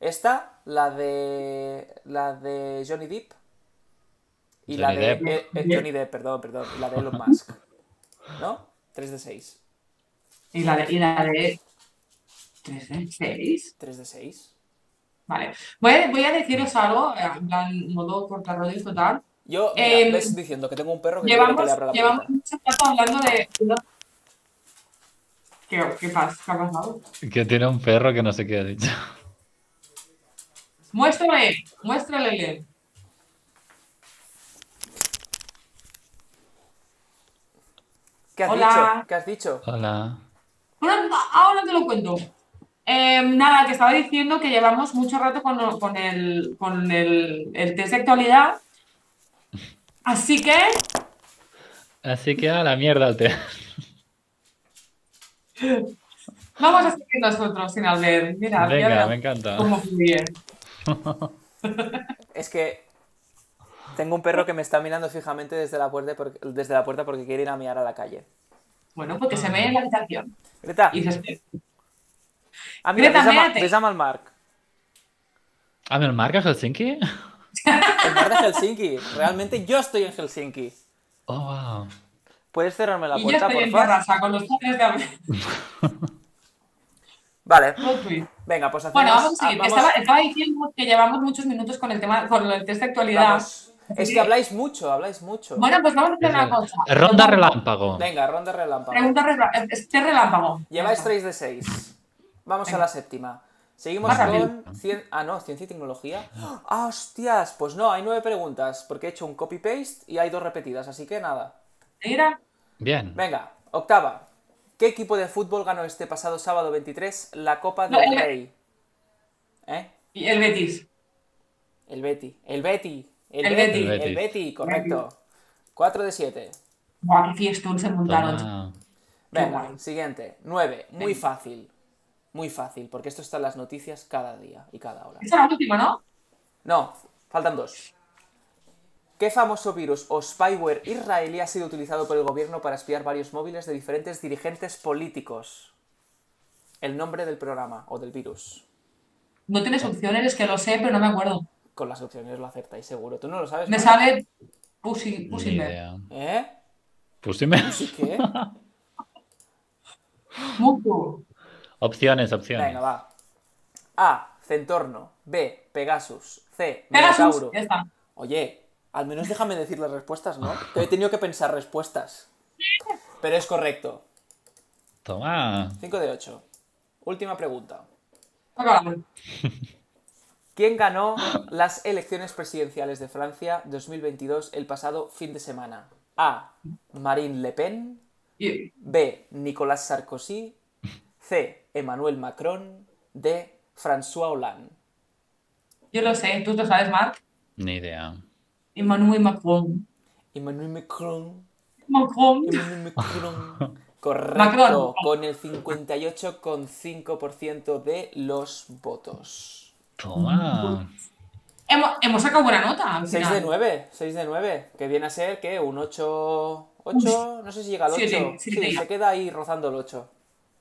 C: Esta, la de. La de Johnny Depp. Y la
B: Johnny
C: de.
B: Depp.
C: eh, eh, Johnny Depp, perdón, perdón. y La de Elon Musk. ¿No? Tres de seis.
A: Y la de, y la de 3 de 6.
C: Tres de seis.
A: Vale. Voy a, voy a deciros algo, eh, en plan, modo cortarrodillo total.
C: Yo, mira,
A: Em,
C: ves diciendo que tengo un perro que quiere que
A: Llevamos,
C: le abra la puerta.
A: llevamos mucho rato hablando de. ¿Qué, qué, pas- qué ha pasado?
B: Que tiene un perro que no sé qué ha dicho.
A: Muéstrale, muéstrale bien.
C: ¿Qué has
A: Hola.
C: dicho? ¿Qué has dicho?
B: Hola.
A: Ahora, ahora te lo cuento. Eh, nada, que estaba diciendo que llevamos mucho rato con, con el, con el, el test de actualidad. Así que
B: Así que a la mierda te.
A: vamos a seguir nosotros sin Albert. Mira, ya
B: Venga,
A: verás
B: me encanta.
A: cómo fluye.
C: Es que tengo un perro que me está mirando fijamente desde la puerta porque, desde la puerta porque quiere ir a mirar a la calle.
A: Bueno, porque se me en la habitación.
C: Greta,
A: Y se-
C: ah, mira,
A: Greta,
C: ves a Ma-
A: mírate.
C: ves a Malmark.
B: Ah, ¿me lo marca Helsinki?
C: El mar de Helsinki. Realmente yo estoy en Helsinki.
B: Oh, wow.
C: ¿Puedes cerrarme la
A: y yo
C: puerta,
A: estoy en
C: por favor?
A: terraza con los padres de Albert.
C: Vale.
A: Plot twist.
C: Venga, pues hacemos...
A: Bueno, vamos a seguir.
C: ah, vamos-
A: Estaba, estaba diciendo que llevamos muchos minutos con el tema, con el test de actualidad.
C: vamos. Es que habláis mucho, habláis mucho.
A: Bueno, pues vamos a hacer una cosa.
B: Ronda relámpago.
C: Venga, ronda relámpago.
A: Pregunta rela- es- test relámpago.
C: Lleváis 3 de 6. Vamos a la séptima. Seguimos
A: Más
C: con
A: rápido.
C: 100... Ah, no, ciencia y tecnología. ¡Ah, hostias! Pues no, hay 9 preguntas, porque he hecho un copy-paste y hay dos repetidas, así que nada.
A: Mira,
B: Bien.
C: Venga, octava. ¿Qué equipo de fútbol ganó este pasado sábado 23 la Copa
A: No,
C: del
A: el-
C: Rey? ¿Eh?
A: y el Betis.
C: El Betty. El Betty. El,
A: El
C: Betty.
B: Betis.
C: El Betty, correcto. 4 de 7.
A: Buah, qué fiestón se montaron.
B: Toma.
A: Qué
C: Venga,
A: guay.
C: siguiente. 9. Muy
A: Venga.
C: fácil. Muy fácil, porque esto está en las noticias cada día y cada hora.
A: Esa es la última, ¿no?
C: No, faltan dos. ¿Qué famoso virus o spyware israelí ha sido utilizado por el gobierno para espiar varios móviles de diferentes dirigentes políticos? El nombre del programa o del virus.
A: No tienes opciones, es que lo sé, pero no me acuerdo.
C: Con las opciones lo acertáis seguro. ¿Tú no lo sabes?
A: Me
C: ¿no?
A: sale Pussy,
B: Ni
A: Pussy Bear.
B: idea.
C: ¿Eh?
B: Pusime.
C: ¿Sí qué?
A: Mucho.
B: Opciones, opciones.
C: Venga, va. A. Centorno. B. Pegasus. C.
A: Pegasus,
C: Minotauro.
A: ya está.
C: Oye, al menos déjame decir las respuestas, ¿no? Que he tenido que pensar respuestas. Pero es correcto.
B: Toma.
C: 5 de 8. Última pregunta.
A: Acabamos.
C: ¿Quién ganó las elecciones presidenciales de Francia 2022 el pasado fin de semana? A. Marine Le Pen.
A: Y-
C: B. Nicolas Sarkozy. C. Emmanuel Macron. D. François Hollande.
A: Yo lo sé, tú lo sabes, Marc.
B: Ni idea.
A: Emmanuel Macron.
C: Emmanuel Macron.
A: Macron.
C: Emmanuel Macron. Correcto,
A: Macron.
C: con el 58,5% de los votos.
B: Toma.
A: Hemos, hemos sacado buena nota. al
C: 6 de
A: final.
C: 9, 6 de 9, que viene a ser que un 8, 8, no sé si llega al 8.
A: Siete,
C: Sí,
A: siete.
C: se queda ahí rozando el 8.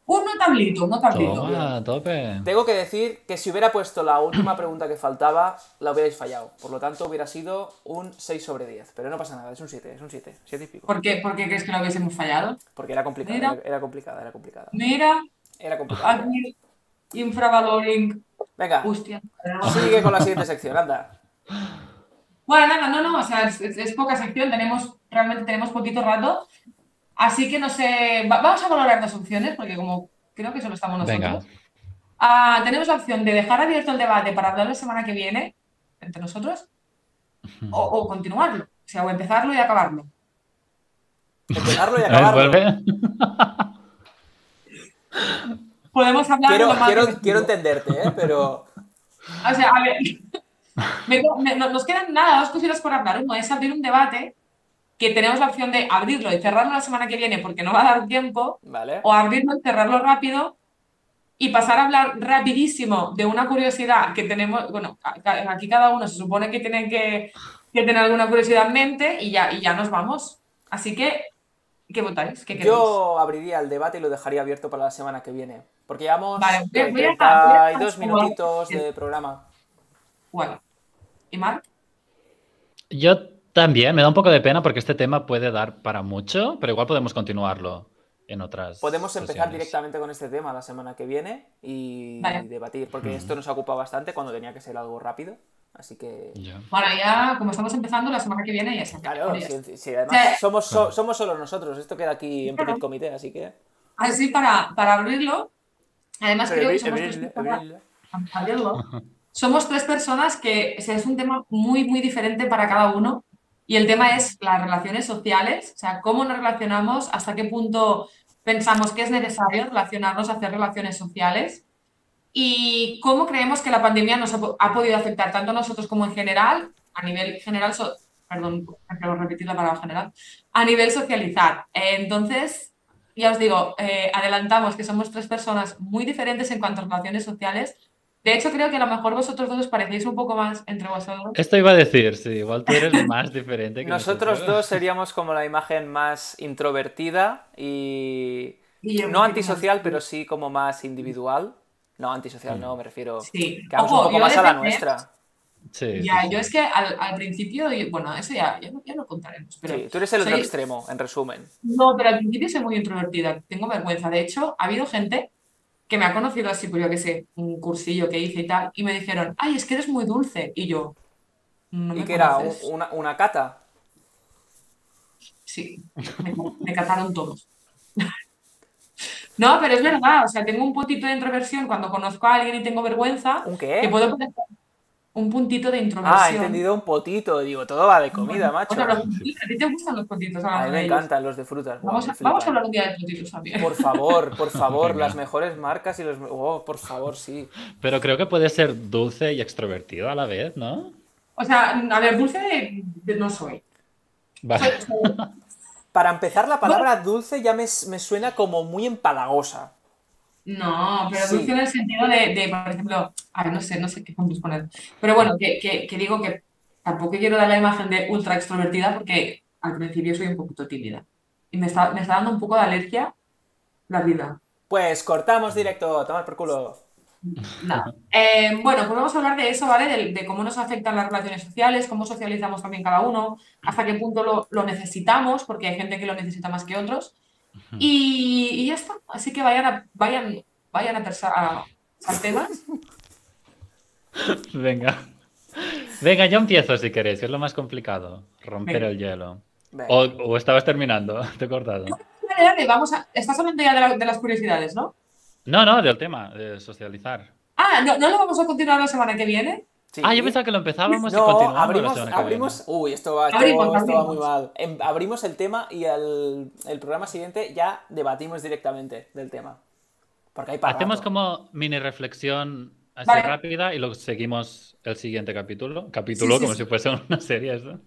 A: Un notablito, un notablito.
B: Toma, a tope.
C: Tengo que decir que si hubiera puesto la última pregunta que faltaba, la hubierais fallado. Por lo tanto, hubiera sido un 6 sobre 10. Pero no pasa nada, es un 7, es un 7, 7 y pico.
A: ¿Por qué, por qué crees que lo hubiésemos fallado?
C: Porque era complicada,
A: Mira.
C: era, era complicada, era complicada.
A: Mira,
C: Era complicada.
A: aquí, infravaloring.
C: Venga,
A: Hostia.
C: sigue con la siguiente sección, anda.
A: Bueno, nada, no, no, o sea, es, es- es poca sección, tenemos, realmente tenemos poquito rato, así que no sé, va- vamos a valorar dos opciones, porque como creo que solo estamos nosotros.
B: Venga.
A: Ah, tenemos la opción de dejar abierto el debate para hablar la semana que viene, entre nosotros, o, o continuarlo, o sea, o empezarlo y acabarlo.
C: Empezarlo y
B: A ver,
C: acabarlo.
B: vuelve.
A: Podemos hablar
C: Quiero,
A: lo más
C: quiero,
A: que-
C: quiero entenderte, ¿eh? pero
A: O sea, a ver, me- me- no- nos quedan nada, dos cositas por hablar. Uno es abrir un debate, que tenemos la opción de abrirlo y cerrarlo la semana que viene porque no va a dar tiempo.
C: ¿vale?
A: o abrirlo, cerrarlo rápido y pasar a hablar rapidísimo de una curiosidad que tenemos, bueno, a- ca- aquí cada uno se supone que tiene que, que tener alguna curiosidad en mente y ya, y ya nos vamos. Así que, ¿qué votáis? ¿Qué queréis?
C: Yo abriría el debate y lo dejaría abierto para la semana que viene. Porque llevamos
A: Vale, voy a- voy a-
C: 32
A: voy a- voy a-
C: minutitos de programa.
A: Guay. ¿Y Marc?
B: Yo también, me da un poco de pena porque este tema puede dar para mucho, pero igual podemos continuarlo en otras.
C: Podemos empezar
B: sesiones.
C: directamente con este tema la semana que viene y
A: Vale.
C: debatir, porque esto nos ha ocupado bastante cuando tenía que ser algo rápido. Así que.
B: Ya.
A: Bueno, ya como estamos empezando, la semana que viene ya se
C: Claro,
A: acaba.
C: si, si además
A: Sí.
C: somos, so-
B: Claro.
C: somos solo nosotros, esto queda aquí en
A: Claro.
C: petit comité, así que.
A: Así para, para abrirlo, además creo que
C: Abrir-
A: somos tres
C: abrir-
A: personas-
C: abrir-
A: Abrirlo. Somos tres personas que o sea, es un tema muy, muy diferente para cada uno. Y el tema es las relaciones sociales, o sea, cómo nos relacionamos, hasta qué punto pensamos que es necesario relacionarnos, hacer relaciones sociales y cómo creemos que la pandemia nos ha, po- ha podido afectar tanto a nosotros como en general, a nivel general, so- perdón, acabo de repetir la palabra general, a nivel socializar. Eh, entonces, ya os digo, eh, adelantamos que somos tres personas muy diferentes en cuanto a relaciones sociales. De hecho, creo que a lo mejor vosotros dos os parecéis un poco más entre vosotros.
B: Esto iba a decir, sí, igual tú eres más diferente que
C: Nosotros dos seríamos como la imagen más introvertida y.
A: Y yo un
C: No
A: poquito más.
C: antisocial, pero sí como más individual. No, antisocial no, me refiero.
A: Sí.
C: Que hagamos un
A: Ojo,
C: poco
A: yo
C: más a la
A: defendí- ¿eh?
C: nuestra.
B: Sí,
A: Ya,
B: sí, sí.
A: yo es que al, al principio, y- bueno, eso ya, ya, lo- ya lo contaremos, pero
C: Sí, tú eres el otro
A: soy-
C: extremo, en resumen.
A: No, pero al principio soy muy introvertida, tengo vergüenza. De hecho, ha habido gente que me ha conocido así, pues yo qué sé, un cursillo que hice y tal, y me dijeron, ay, es que eres muy dulce. Y yo, no
C: ¿Y
A: me
C: que era? un-
A: conoces".
C: Una, una cata.
A: Sí, me, me cataron todos. No, pero es verdad, o sea, tengo un puntito de introversión cuando conozco a alguien y tengo vergüenza,
C: ¿Un
A: que
C: qué?
A: puedo poner un puntito de introversión.
C: ¿Eh? Ah, he entendido un potito. Digo, todo va de comida, macho.
A: Bueno, los puntitos, a ti te gustan los puntitos,
C: A
A: hablamos de
C: mí me
A: ellos.
C: encantan los de frutas. Buah,
A: Vamos
C: me
A: a, vamos a
C: flipan.
A: hablar un día de puntitos también.
C: Por favor, por favor,
B: Venga.
C: las mejores marcas y los. Oh, por favor, sí.
B: Pero creo que puede ser dulce y extrovertido a la vez, ¿no?
A: O sea, a ver, dulce de- de- no soy.
B: Vale.
C: Para empezar, la palabra dulce ya me, me suena como muy empalagosa.
A: No, pero
C: Sí.
A: dulce en el sentido de, de, por ejemplo, a ver, no sé, no sé qué ejemplos poner. Pero bueno, que, que- que digo que tampoco quiero dar la imagen de ultra extrovertida porque al principio soy un poquito tímida. Y me está, me está dando un poco de alergia la vida.
C: Pues cortamos directo, a tomar por culo.
A: Nada. Eh, bueno, pues vamos a hablar de eso, ¿vale? De, de cómo nos afectan las relaciones sociales, cómo socializamos también cada uno, hasta qué punto lo, lo necesitamos, porque hay gente que lo necesita más que otros. Y, y ya está. Así que vayan a, vayan, vayan a pensar a, a temas.
B: Venga. Venga, yo empiezo si queréis, que es lo más complicado. Romper
A: Venga.
B: el hielo.
C: Venga.
B: O, o estabas terminando, te he cortado.
A: Dale, dale, vamos a. Estás hablando ya de, la- de las curiosidades, ¿no?
B: No, no, del tema, de socializar.
A: Ah, ¿no, ¿no lo vamos a continuar la semana que viene?
C: Sí.
B: Ah, yo pensaba que lo empezábamos y
C: No,
B: continuábamos la
C: abrimos,
B: semana que
C: abrimos, uy, esto va, esto-
A: Abrimos,
C: esto va
A: abrimos.
C: muy mal. Em, abrimos el tema y el, el programa siguiente ya debatimos directamente del tema. Porque hay para
B: Hacemos
C: rato.
B: como mini reflexión así
A: Vale.
B: rápida y luego seguimos el siguiente capítulo. Capítulo
A: sí,
B: como
A: sí.
B: si fuese una serie. ¿no?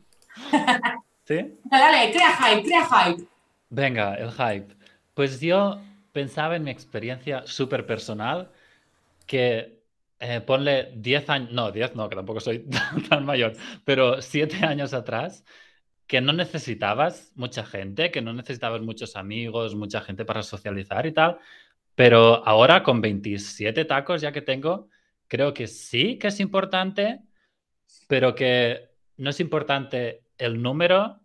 B: ¿Sí?
A: Dale, crea hype, crea hype.
B: Venga, el hype. Pues yo pensaba en mi experiencia súper personal que eh, ponle 10 años, no, 10 no, que tampoco soy tan, tan mayor, pero 7 años atrás, que no necesitabas mucha gente, que no necesitabas muchos amigos, mucha gente para socializar y tal, pero ahora con 27 tacos ya que tengo, creo que sí que es importante, pero que no es importante el número,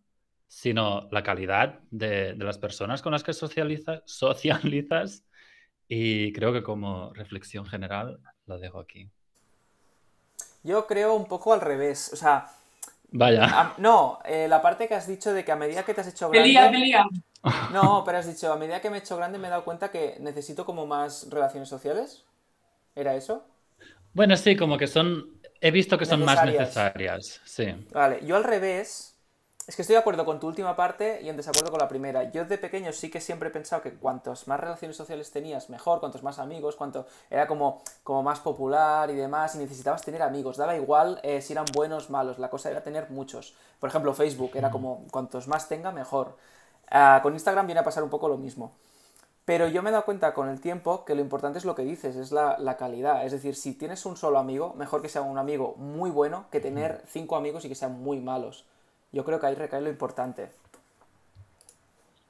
B: sino la calidad de, de las personas con las que socializa- socializas. Y creo que como reflexión general lo dejo aquí.
C: Yo creo un poco al revés. O sea,
B: Vaya,
C: a- no, eh, la parte que has dicho de que a medida que te has hecho
A: Te lía, te
C: grande.
A: lía.
C: No, pero has dicho, a medida que me he hecho grande me he dado cuenta que necesito como más relaciones sociales. ¿Era eso?
B: bueno, sí, como que son, he visto que son más
C: Necesarias.
B: necesarias, sí.
C: Vale, yo al revés. Es que estoy de acuerdo con tu última parte y en desacuerdo con la primera. Yo de pequeño sí que siempre he pensado que cuantos más relaciones sociales tenías, mejor, cuantos más amigos, cuanto era como, como más popular y demás, y necesitabas tener amigos. Daba igual eh, si eran buenos malos, la cosa era tener muchos. Por ejemplo, Facebook era como cuantos más tenga, mejor. Ah, con Instagram viene a pasar un poco lo mismo. Pero yo me he dado cuenta con el tiempo que lo importante es lo que dices, es la, la calidad. Es decir, si tienes un solo amigo, mejor que sea un amigo muy bueno que tener cinco amigos y que sean muy malos. Yo creo que ahí recae lo importante.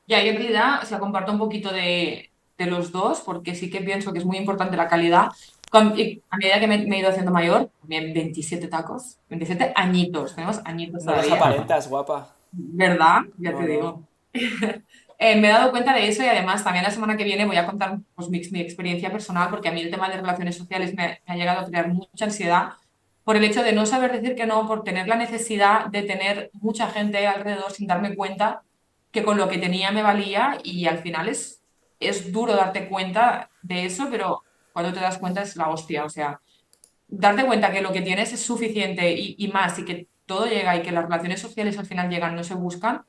A: Ya, yo en realidad, o sea, comparto un poquito de, de los dos, porque sí que pienso que es muy importante la calidad. Con- y a medida que me, me he ido haciendo mayor, también 27 tacos, 27 añitos, tenemos
B: Pues
A: añitos
C: No las
A: todavía.
C: aparentas, guapa.
A: ¿Verdad? Ya
C: No,
A: te
C: no.
A: digo. Eh, me he dado cuenta de eso y además también la semana que viene voy a contar pues, mi, mi experiencia personal porque a mí el tema de relaciones sociales me, me ha llegado a crear mucha ansiedad por el hecho de no saber decir que no, por tener la necesidad de tener mucha gente alrededor sin darme cuenta que con lo que tenía me valía y al final es, es duro darte cuenta de eso, pero cuando te das cuenta es la hostia, o sea, darte cuenta que lo que tienes es suficiente y, y más y que todo llega y que las relaciones sociales al final llegan, no se buscan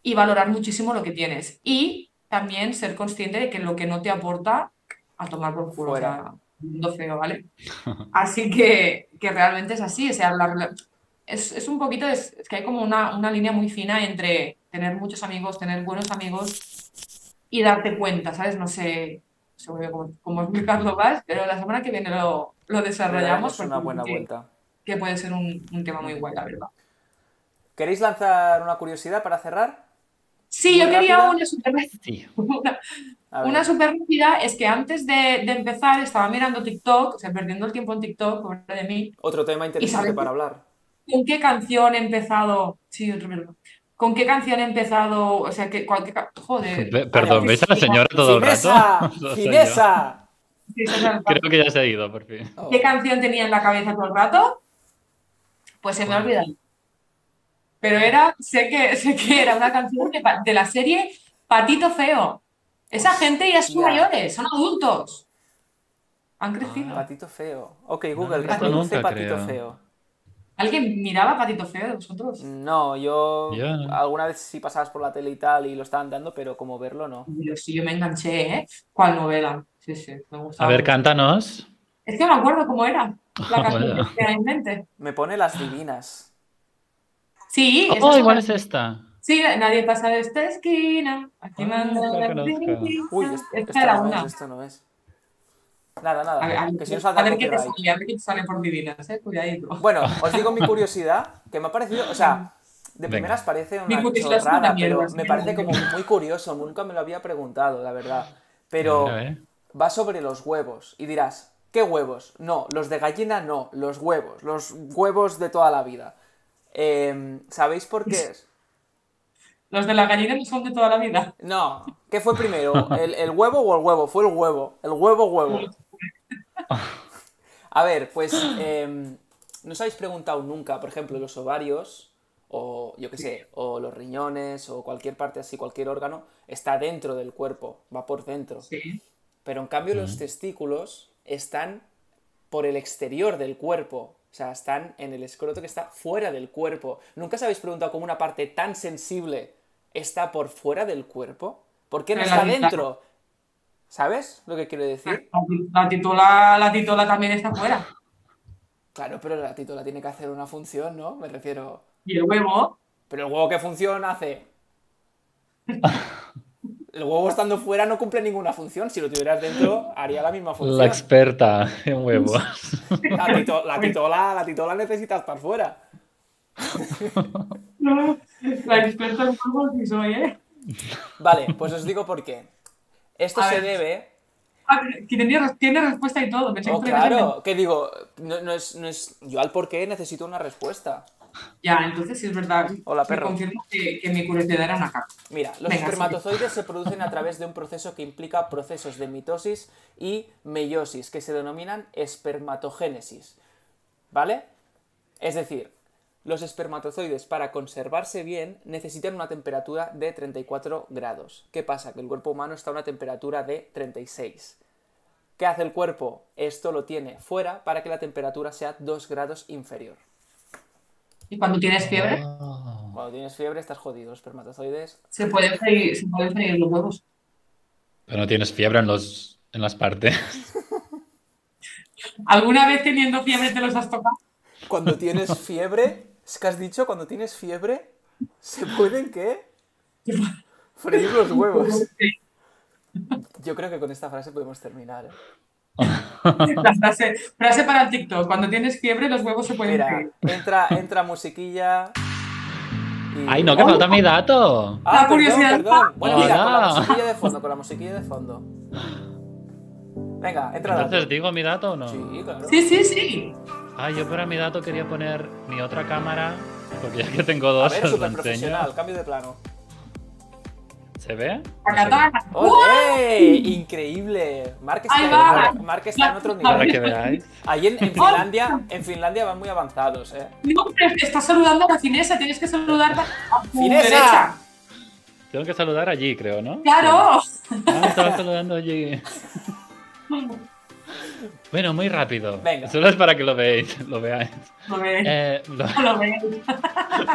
A: y valorar muchísimo lo que tienes y también ser consciente de que lo que no te aporta a tomar por culo,
C: Fuera.
A: o sea, mundo feo, ¿vale? Así que, que realmente es así, o sea, la rela- es, es un poquito, es, es que hay como una, una línea muy fina entre tener muchos amigos, tener buenos amigos y darte cuenta, ¿sabes? No sé, no sé muy bien cómo, cómo explicarlo más, pero la semana que viene lo, lo
C: Le
A: desarrollamos
C: damos
A: porque
C: una buena
A: que-
C: vuelta.
A: que puede ser un, un tema muy guay, la verdad.
C: ¿Queréis lanzar una curiosidad para cerrar?
A: Sí, yo
C: Muy
A: quería
C: rápida.
A: una super
B: Sí.
A: una,
C: A ver.
A: una super rápida es que antes de, de empezar estaba mirando TikTok, o sea, perdiendo el tiempo en TikTok, pobre de mí,
C: Otro tema interesante
A: Isabel.
C: para hablar.
A: ¿Con qué canción he empezado? Sí, otro verbo. ¿Con qué canción he empezado? O sea, que cualquier. ca- Joder.
B: Ve- Perdón,
A: Ahora,
B: ¿veis a la señora todo el
C: ¡Finesa!
B: rato? Lo soy yo.
C: ¡Finesa!
A: sí, sí, sí,
B: Creo que ya se ha ido, por fin.
C: Oh.
A: ¿Qué canción tenía en la cabeza todo el rato? Pues se me ha
B: Bueno.
A: olvidado. Pero era, sé que, sé que era una canción de, pa- de la serie Patito Feo. Esa gente ya son
C: Hostia.
A: mayores, son adultos. Han crecido.
C: Ah, Patito feo. Ok,
B: No lo
C: Google,
B: he visto
C: reproduce
B: nunca,
C: patito
B: creo.
C: feo.
A: ¿Alguien miraba Patito Feo de vosotros?
C: No, yo
B: Yo no.
C: alguna vez sí pasabas por la tele y tal y lo estaban dando, pero como verlo no.
A: Yo sí, yo me enganché, ¿eh? ¿Cuál novela? Sí, sí, me
B: A
A: gustaba.
B: ver,
A: mucho.
B: cántanos.
A: Es que no me acuerdo cómo era la canción
B: Vaya.
A: que tenía en mente.
C: Me pone las divinas.
A: Sí, esa
B: Oh,
A: es
B: igual
A: una-
B: es esta.
A: Sí, nadie pasa de esta esquina. Aquí
B: Ah,
A: manda
B: la
A: la
B: conozco.
A: princesa.
C: Uy, es- esto,
A: Esta era
C: no ¿eh?
A: una.
C: es, esto no es. Nada, nada.
A: A ver, a ver-
C: que si no
A: a
C: salta
A: ver qué te
C: copyright.
A: sale, a ver qué te sale por divinas, eh. Cuidadito.
C: Bueno, os digo mi curiosidad, que me ha parecido, o sea, de
B: Venga.
C: primeras parece
A: Mi
C: una
A: curiosidad es una
C: chorrada,
A: mierda,
C: pero
A: es
C: me
A: que
C: parece
A: no-
C: como muy curioso, nunca me lo había preguntado, la verdad. Pero
B: Mira, eh.
C: va sobre los huevos y dirás, ¿qué huevos? No, los de gallina no, los huevos, los huevos de toda la vida. Em, ¿Sabéis por qué es?
A: Los de la gallina no son de toda la vida.
C: No, ¿qué fue primero? ¿El, el huevo o el huevo? Fue el huevo. El huevo, huevo. A ver, pues eh, no os habéis preguntado nunca, por ejemplo, los ovarios o yo qué sé, o los riñones o cualquier parte así, cualquier órgano, está dentro del cuerpo, va por dentro.
A: Sí.
C: Pero en cambio los testículos están por el exterior del cuerpo. O sea, están en el escroto que está fuera del cuerpo. ¿Nunca os habéis preguntado cómo una parte tan sensible está por fuera del cuerpo? ¿Por qué no
A: Pero la Ah.
C: está
A: ventaja-
C: dentro? ¿Sabes lo que quiero decir?
A: La ti- La titola, la titola también está fuera.
C: Claro, pero la titola tiene que hacer una función, ¿no? Me refiero...
A: Y el huevo.
C: Pero el huevo que funciona hace. El huevo estando fuera no cumple ninguna función. Si lo tuvieras dentro, haría la misma función.
B: La experta en huevos.
C: La, tito- la titola, la titola necesita estar fuera.
A: No, la experta en huevos sí soy, ¿eh?
C: Vale, pues os digo por qué. Esto
A: A
C: se
A: ver.
C: debe.
A: Ah, pero que tenía- tiene respuesta y todo. Pensé
C: Oh,
A: que tenía-
C: claro, que digo, no, no es, no es- Yo al por qué necesito una respuesta.
A: Ya, entonces sí es verdad.
C: Hola,
A: me
C: perro.
A: confirmo que, que mi curiosidad era una caca.
C: Mira, los
A: Venga,
C: espermatozoides se producen a través de un proceso que implica procesos de mitosis y meiosis, que se denominan espermatogénesis. ¿Vale? Es decir, los espermatozoides para conservarse bien necesitan una temperatura de 34 grados. ¿Qué pasa? Que el cuerpo humano está a una temperatura de 36. ¿Qué hace el cuerpo? Esto lo tiene fuera para que la temperatura sea 2 grados inferior.
A: Y cuando tienes fiebre,
B: Ah.
C: Cuando tienes fiebre estás jodido, los espermatozoides.
A: se pueden freír, se pueden freír los huevos.
B: Pero no tienes fiebre en, los, en las partes.
A: ¿Alguna vez teniendo fiebre te los has tocado?
C: Cuando tienes fiebre, ¿es que has dicho? Cuando tienes fiebre, ¿se pueden qué? Freír los huevos. Yo creo que con esta frase podemos terminar. ¿eh?
A: La frase, frase para el TikTok. Cuando tienes fiebre, los huevos se pueden
C: Mira,
A: freír.
C: entra, entra musiquilla. y-
B: ¡Ay, no, que
A: Oh.
B: falta mi dato!
C: Ah,
A: La curiosidad.
C: perdón. Bueno, mira, con la
B: Hola.
C: musiquilla de fondo, con la musiquilla de fondo. Venga, entra. dato.
B: Entonces, ¿digo mi dato o no?
C: Sí, claro.
A: Sí, sí, sí.
B: Ah, yo para mi dato quería poner mi otra cámara, porque ya que tengo
C: A
B: dos, os
C: ver,
B: la
C: súper
B: enseño.
C: profesional, cambio de plano.
B: ¿Se ve?
A: Tacatana.
C: ¡Ole! Increíble. Marc está,
A: Ahí
C: en
A: va.
C: otro- Marc está en otro
B: Para
C: nivel.
B: que veáis.
C: Ahí en, en Finlandia, en Finlandia van muy avanzados, ¿eh?
A: No, pero estás saludando a la finesa, tienes que saludarla a tu
C: ¡Finesa!
A: derecha.
B: Tengo que saludar allí, creo, ¿no?
A: ¡Claro!
B: Ah, estaba saludando allí. Bueno, muy rápido.
C: Venga.
B: Solo es para que lo veáis, lo veáis.
A: Lo veis,
B: Eh, lo,
A: lo veis.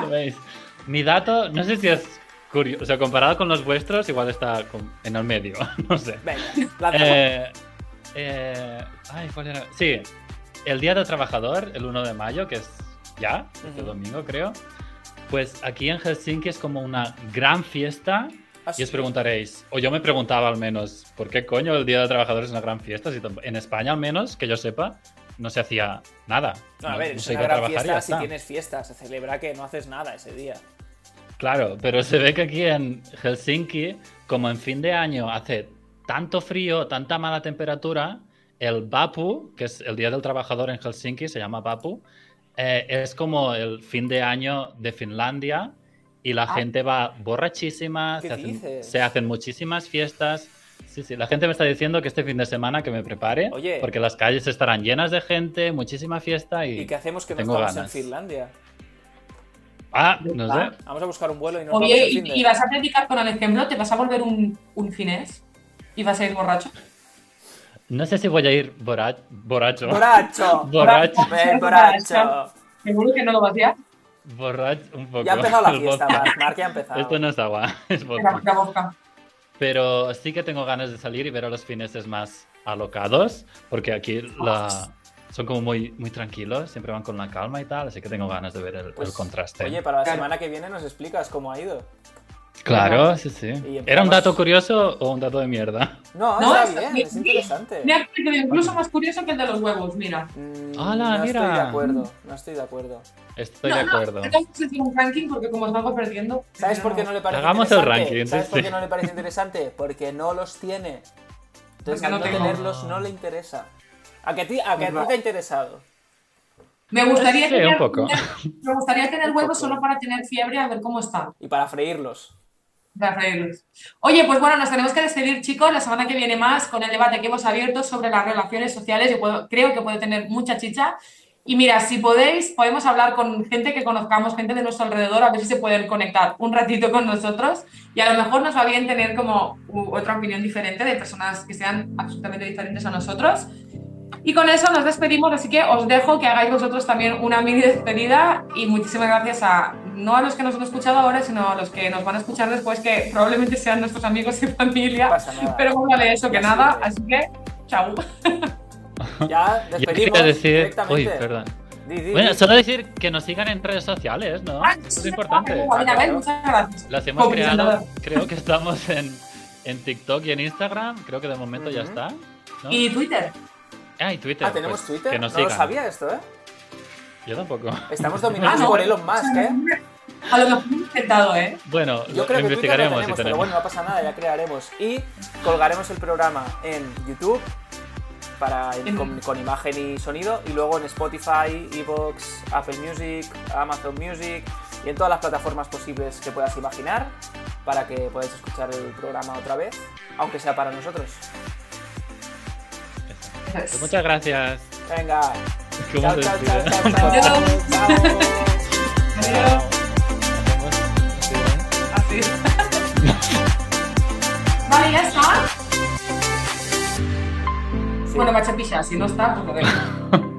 B: lo veis. Mi dato, no sé si es curioso, o sea, comparado con los vuestros, igual está con- en el medio, no sé.
C: Venga, lánzalo.
B: Eh, eh, ay, ¿cuál era? Sí, el Día del Trabajador, el 1 de mayo, que es ya, este
C: Ujú.
B: domingo creo. Pues aquí en Helsinki es como una gran fiesta
C: Ah, sí.
B: y os preguntaréis, o yo me preguntaba al menos, ¿por qué coño el Día del Trabajador es una gran fiesta? Si tam- en España al menos, que yo sepa, no se hacía nada.
C: No, a ver,
B: no
C: es
B: se iba
C: una
B: a
C: gran
B: trabajar y ya
C: fiesta si
B: está.
C: tienes fiesta. Se celebra que no haces nada ese día.
B: Claro, pero se ve que aquí en Helsinki, como en fin de año hace tanto frío, tanta mala temperatura, el Vapu, que es el Día del Trabajador en Helsinki, se llama Vapu, eh, es como el fin de año de Finlandia y la
A: Ah.
B: gente va borrachísima,
C: ¿Qué
B: se hacen,
C: dices?
B: se hacen muchísimas fiestas. Sí, sí, la gente me está diciendo que este fin de semana que me prepare,
C: Oye.
B: porque las calles estarán llenas de gente, muchísima fiesta y...
C: ¿Y qué hacemos que no
B: Tengo
C: estamos
B: ganas.
C: en Finlandia?
B: Ah, no sé.
C: Vamos a buscar un vuelo y nos vamos
A: Oye,
C: al
A: y,
C: fin
A: y vas a predicar con el ejemplo, te vas a volver un, un finés y vas a ir borracho.
B: No sé si voy a ir borra- borracho.
C: ¡Borracho!
B: Borracho.
C: ¡Ven, borracho!
A: Seguro que no lo vas a hacer.
B: Borracho un poco.
C: Ya ha empezado la
B: El
C: fiesta,
B: vodka.
C: Marc. Marc ya ha empezado.
B: Esto no es agua, es
A: Espera,
B: vodka.
A: la boca.
B: Pero sí que tengo ganas de salir y ver a los fineses más alocados, porque aquí la... son como muy, muy tranquilos, siempre van con la calma y tal, así que tengo ganas de ver el,
C: Pues,
B: el contraste.
C: Oye, para la
A: Claro.
C: semana que viene nos explicas cómo ha ido.
B: claro, sí, sí.
C: pues, empezamos-
B: ¿Era un dato curioso o un dato de mierda?
C: No,
A: No,
C: está
A: está
C: bien,
A: bien.
C: es interesante.
A: Mira, que es incluso más curioso que el de los huevos, mira.
C: Mm,
B: Hola,
C: no estoy de
B: mira.
C: acuerdo, no estoy de acuerdo.
B: Estoy
A: no,
B: de
A: no,
B: acuerdo.
A: tenemos que hacer un ranking porque como salgo perdiendo.
C: ¿Sabes por qué no le parece
B: Hagamos el
C: interesante?
B: ranking,
C: ¿Sabes
B: sí,
C: por
B: sí.
C: qué no le parece interesante? Porque no los tiene. Entonces,
A: Porque
C: al
A: no
C: no
A: tengo.
C: tenerlos no le interesa. ¿A que a ti, a que a ti
A: Verdad.
C: te ha interesado?
A: Me gustaría,
B: Sí,
A: tener,
B: un poco.
A: me gustaría tener
C: Un
A: huevos
C: poco.
A: solo para tener fiebre a ver cómo está.
C: Y para freírlos.
A: para reírnos. Oye, pues bueno, nos tenemos que despedir, chicos. La semana que viene más con el debate que hemos abierto sobre las relaciones sociales. Yo puedo- creo que puede tener mucha chicha. Y mira, si podéis, podemos hablar con gente que conozcamos, gente de nuestro alrededor, a ver si se pueden conectar un ratito con nosotros. Y a lo mejor nos va bien tener como u- otra opinión diferente de personas que sean absolutamente diferentes a nosotros. Y con eso nos despedimos, así que os dejo que hagáis vosotros también una mini despedida y muchísimas gracias a no a los que nos han escuchado ahora, sino a los que nos van a escuchar después, que probablemente sean nuestros amigos y
C: No
A: familia.
C: pasa nada.
A: Pero más vale eso que
C: Así
A: nada,
C: es.
A: así que chao.
C: Ya
B: Yo quería
C: despedimos
B: decir... Uy,
C: directamente.
B: perdón.
C: Di, di,
B: Bueno,
C: di.
B: solo decir que nos sigan en redes sociales, ¿no?
A: Ah,
B: Eso es
A: sí,
B: importante.
A: David, a ver, muchas gracias.
B: Las hemos
A: Publicidad.
B: creado, creo que estamos en, en TikTok y en Instagram, creo que de momento ya
C: Ujú.
B: está. ¿no?
A: Y Twitter.
B: Ah, y Twitter.
C: Ah, tenemos
B: pues,
C: Twitter.
B: Que
C: No
B: nos sigan.
C: lo sabía esto, ¿eh?
B: Yo tampoco.
C: Estamos
A: Ah,
C: dominados
A: no.
C: por Elon Musk, ¿eh?
A: A lo mejor he intentado, ¿eh?
B: Bueno,
C: Yo
B: lo
C: creo que Twitter lo
B: investigaremos si
C: tenemos, pero
B: tenemos.
C: bueno, no pasa nada, ya crearemos. Y colgaremos el programa en YouTube para,
A: En-
C: con, con imagen y sonido y luego en Spotify, Evox, Apple Music, Amazon Music y en todas las plataformas posibles que puedas imaginar para que podáis escuchar el programa otra vez, aunque sea para nosotros.
B: Pues muchas gracias.
C: Venga,
B: Qué
C: chao,
B: buen
C: chao,
B: despido.
C: chao, chao, chao,
A: Adiós.
C: chao.
A: Adiós.
B: Hacemos- sí, ¿eh?
A: Así. vale, ya está.
C: Sí.
A: Bueno, machapicha, si no está, pues lo dejo.